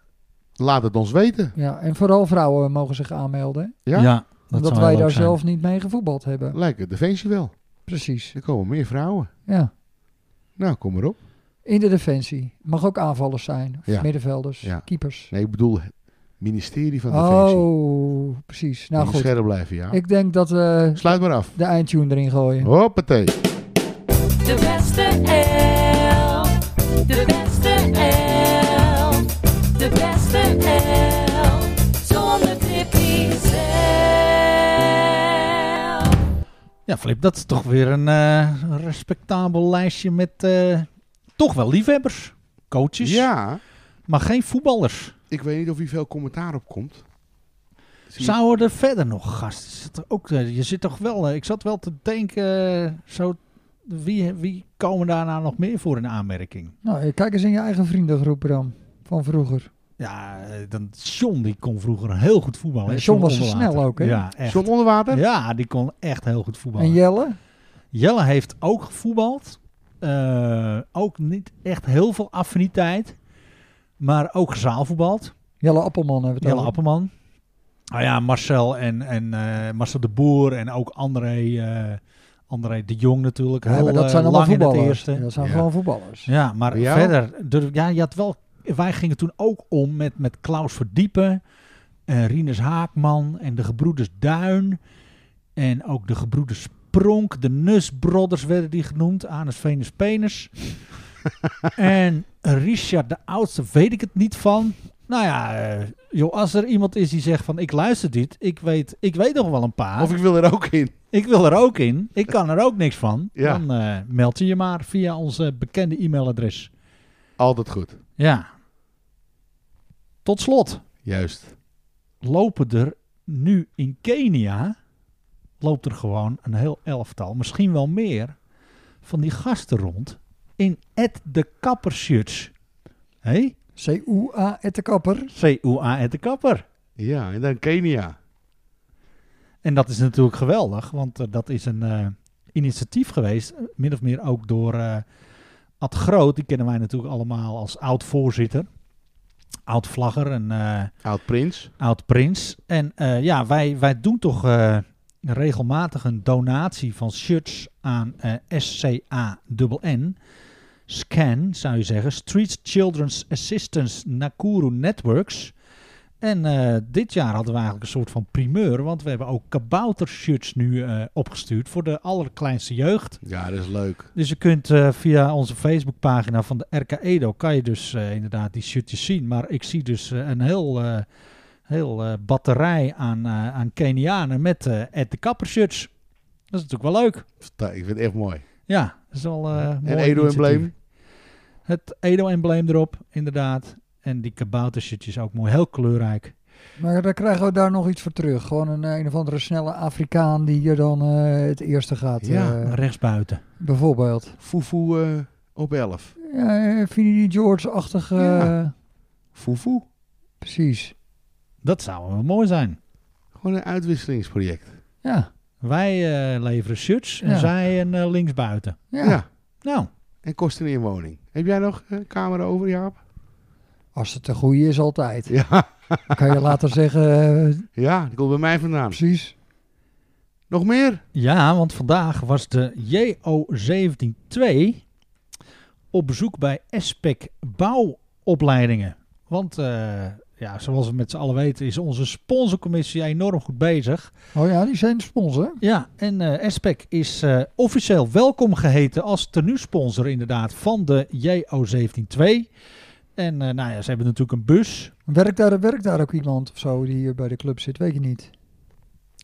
Laat het ons weten. Ja, en vooral vrouwen mogen zich aanmelden. hè? Ja? dat omdat zou wij wel daar leuk zijn. zelf niet mee gevoetbald hebben. Lijkt het Defensie wel. Precies. Er komen meer vrouwen. Ja. Nou, kom maar op. In de defensie. Mag ook aanvallers zijn. Of Ja. middenvelders. Ja. Keepers. Nee, ik bedoel het ministerie van Defensie. Oh, precies. Nou Moet goed. scherp blijven, ja. Ik denk dat we Sluit maar af. de eindtune erin gooien. Oh. Hoppatee. De beste elf, de beste elf, de beste elf, zonder Tippy zelf. Ja, Flip, dat is toch weer een eh, een respectabel lijstje met eh, toch wel liefhebbers. Coaches, Ja, maar geen voetballers. ik weet niet of hier veel commentaar op komt. Zie- Zouden er verder nog gasten zitten? Ook, eh, je zit toch wel, eh, ik zat wel te denken, eh, zo, wie, wie komen daarna nog meer voor in aanmerking? Nou, kijk eens in je eigen vriendengroep dan. Van vroeger. Ja, eh, dan John die kon vroeger heel goed voetballen. hè? En John was zo Onderwater. snel ook, hè? Ja, echt. John Onderwater? Ja, die kon echt heel goed voetballen. En Jelle? Jelle heeft ook gevoetbald. Eh, ook niet echt heel veel affiniteit. Maar ook zaalvoetbald. Jelle Appelman hebben we het Jelle over. Appelman. Nou ja, Marcel en, en eh, Marcel de Boer en ook André, eh, André de Jong natuurlijk. Ja, Heel, maar dat eh, zijn allemaal lang in het voetballers. eerste. Ja, dat zijn Ja. gewoon voetballers. Ja, maar Bij jou? verder, durf- ja, je had wel, wij gingen toen ook om met, met Klaus Verdiepen, en Rinus Haakman en de gebroeders Duin. En ook de gebroeders Pronk, de Nusbrothers werden die genoemd, Anus Venus Penis. en Richard de Oudste weet ik het niet van. Nou ja, eh, joh, als er iemand is die zegt van ik luister dit, ik weet, ik weet nog wel een paar. Of ik wil er ook in. Ik wil er ook in. Ik kan er ook niks van. Ja. Dan eh, meld je je maar via onze bekende e-mailadres. Altijd goed. Ja. Tot slot Juist. lopen er nu in Kenia loopt er gewoon een heel elftal, misschien wel meer, van die gasten rond in Ed de Kapper shirts. Hé? CUA et de kapper. C-U-A Ed de Kapper. Ja, en dan Kenia. En dat is natuurlijk geweldig, want eh, dat is een eh, initiatief geweest, eh, min of meer ook door eh, Ad Groot, die kennen wij natuurlijk allemaal als oud-voorzitter, oud-vlagger en eh, Oud Prins. oud-prins. En eh, ja, wij, wij doen toch eh, regelmatig een donatie van shirts aan eh SCANN. Scan, zou je zeggen. Street Children's Assistance Nakuru Networks. En eh, dit jaar hadden we eigenlijk een soort van primeur, want we hebben ook kaboutershirts nu eh, opgestuurd voor de allerkleinste jeugd. Ja, dat is leuk. Dus je kunt eh, via onze Facebookpagina van de RK Edo, kan je dus eh, inderdaad die shirtjes zien. Maar ik zie dus eh, een heel, eh, heel eh, batterij aan, eh, aan Kenianen met eh Ed de Kapper shirts. Dat is natuurlijk wel leuk. Vertel- Ik vind het echt mooi. Ja, dat is wel eh mooi en Edo-embleem. initiatief. Het Edo-embleem erop, inderdaad. En die kaboutershirtjes ook mooi, heel kleurrijk. Maar dan krijgen we daar nog iets voor terug. Gewoon een eh, een of andere snelle Afrikaan die hier dan eh, het eerste gaat. Ja, eh, Rechtsbuiten. bijvoorbeeld. Fufu eh, op 11. Ja, eh, Vinnie George-achtig. eh, Ja. Fufu. Precies. Dat zou wel mooi zijn. Gewoon een uitwisselingsproject. Ja. Wij eh, leveren shirts en Ja. zij een eh, linksbuiten. ja. Ja. Nou, En kosten in woning. Heb jij nog eh, een kamer over, Jaap? Als het een goede is, altijd. Ja. Dan kan je later zeggen, eh, Ja, die komt bij mij vandaan. precies. Nog meer? ja, want vandaag was de JO172 op bezoek bij SPEC Bouwopleidingen. Want eh, ja, zoals we met z'n allen weten is onze sponsorcommissie enorm goed bezig. Oh ja, die zijn sponsor. Ja, en eh SPEC is eh, officieel welkom geheten als tenuesponsor inderdaad van de JO172. En eh, nou ja, ze hebben natuurlijk een bus. Werkt daar, werkt daar ook iemand of zo die hier bij de club zit? Weet je niet.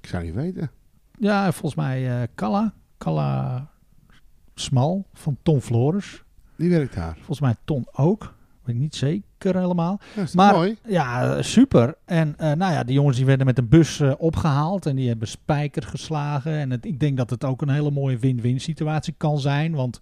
Ik zou niet weten. Ja, volgens mij eh Kalla. Kalla Smal van Ton Flores. Die werkt daar. Volgens mij Ton ook. Weet ik niet zeker helemaal. Ja, is toch Maar- mooi? Ja, super. En eh, nou ja, die jongens die werden met een bus eh, opgehaald en die hebben spijker geslagen. En het, ik denk dat het ook een hele mooie win-win situatie kan zijn. Want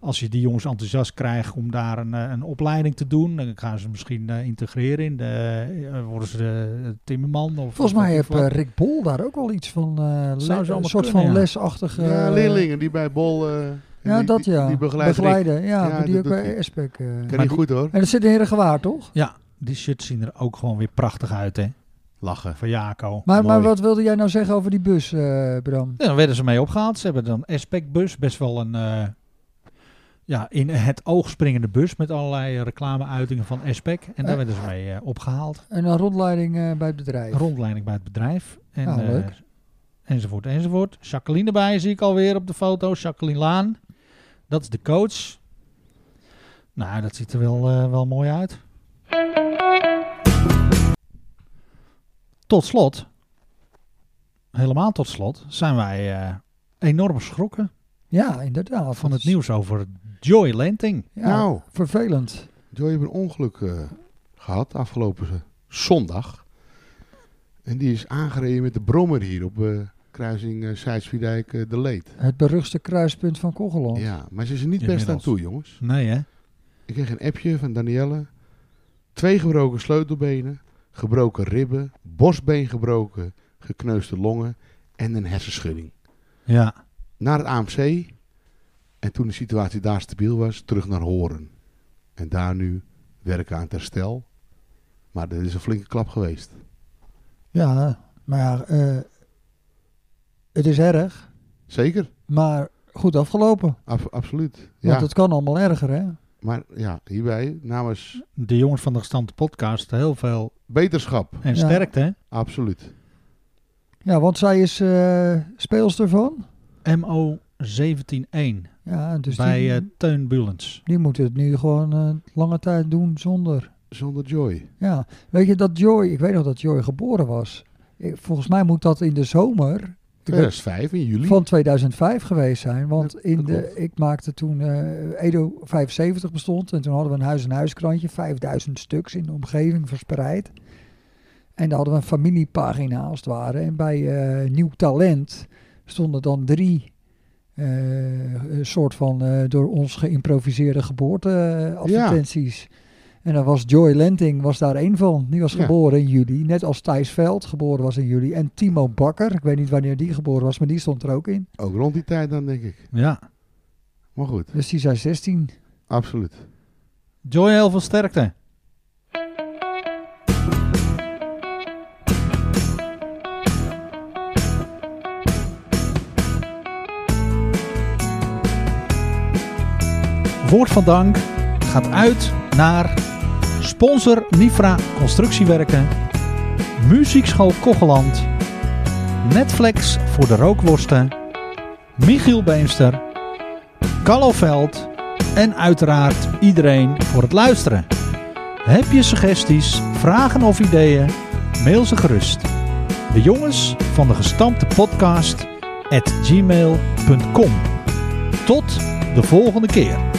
als je die jongens enthousiast krijgt om daar een, eh, een opleiding te doen, dan gaan ze misschien eh, integreren in de, eh, worden ze eh, timmerman. Of, Volgens mij of- heeft eh, Rick Bol daar ook wel iets van. eh, le- ze allemaal een soort kunnen, van ja. lesachtige. ja, leerlingen die bij Bol... eh, en eh, Ja, die- dat ja. Die, die begeleider. Begeleid. Begeleiden, ja. Ja, maar die dat ook doet bij hij. Espec. eh. Kan Maar niet goed hoor. En dat zit in Herengewaard, toch? Ja, die shirts zien er ook gewoon weer prachtig uit, hè? Lachen. Van Jaco. Maar, maar Mooi. wat wilde jij nou zeggen over die bus, eh, Bram? Ja, dan werden ze mee opgehaald. Ze hebben dan Aspect E bus, best wel een eh, ja, in het oog springende bus met allerlei reclameuitingen van Aspect. En daar Eh. werden ze mee eh, opgehaald. En een rondleiding eh, bij het bedrijf. Rondleiding bij het bedrijf. En, Nou, eh, leuk. enzovoort, enzovoort. Jacqueline erbij zie ik alweer op de foto. Jacqueline Laan. Dat is de coach. Nou, dat ziet er wel, eh, wel mooi uit. Tot slot, helemaal tot slot, zijn wij eh, enorm geschrokken ja, inderdaad. van dat het is- nieuws over Joy Lenting. Ja, Nou. vervelend. Joy heeft een ongeluk eh, gehad afgelopen z- zondag. En die is aangereden met de brommer hier op eh, kruising eh Zuid-Spiedijk eh, de Leed. Het beruchtste kruispunt van Kogeland. Ja, maar ze is er niet best aan Inmiddels. toe, jongens. Nee hè? Ik kreeg een appje van Danielle. Twee gebroken sleutelbenen, gebroken ribben, borstbeen gebroken, gekneusde longen en een hersenschudding. Ja. Naar het AMC. En toen de situatie daar stabiel was, terug naar Horen. En daar nu werken aan het herstel. Maar dat is een flinke klap geweest. Ja, maar ja, eh, het is erg, Zeker, maar goed afgelopen. Ab- absoluut. Want Ja, het kan allemaal erger, hè? Maar ja, hierbij namens De jongens van de gestampte podcast, heel veel beterschap. en Ja. sterkte. Absoluut. Ja, want zij is eh, speelster van. hè? MO 171 Ja, dus bij die, eh, Teun Bulens. die moet het nu gewoon eh, lange tijd doen zonder. Zonder joy. Ja, weet je dat Joy, ik weet nog dat Joy geboren was. Ik- Volgens mij moet dat in de zomer eh, 2005 in juli. van 2005 geweest zijn. Want in dat de, klopt. ik maakte toen eh, Edo 75 bestond. En toen hadden we een huis-en-huis krantje, 5000 stuks in de omgeving verspreid. En daar hadden we een familiepagina als het ware. En bij eh, Nieuw Talent stonden dan drie eh, een soort van eh, door ons geïmproviseerde geboorteadvertenties. En dan was Joy Lenting was daar één van. Die was Ja. geboren in juli. Net als Thijs Veld geboren was in juli. En Timo Bakker, ik weet niet wanneer die geboren was, maar die stond er ook in. Ook rond die tijd dan, denk ik. Ja. Maar goed, Dus die zijn 16. absoluut. Joy, heel veel sterkte. Woord van dank gaat uit naar sponsor Nifra Constructiewerken Muziekschool Kocheland, Netflix voor de rookworsten, Michiel Beemster, Carlo Veld en uiteraard iedereen voor het luisteren. Heb je suggesties, vragen of ideeën? Mail ze gerust. De jongens van de gestampte podcast at gmail.com. Tot de volgende keer.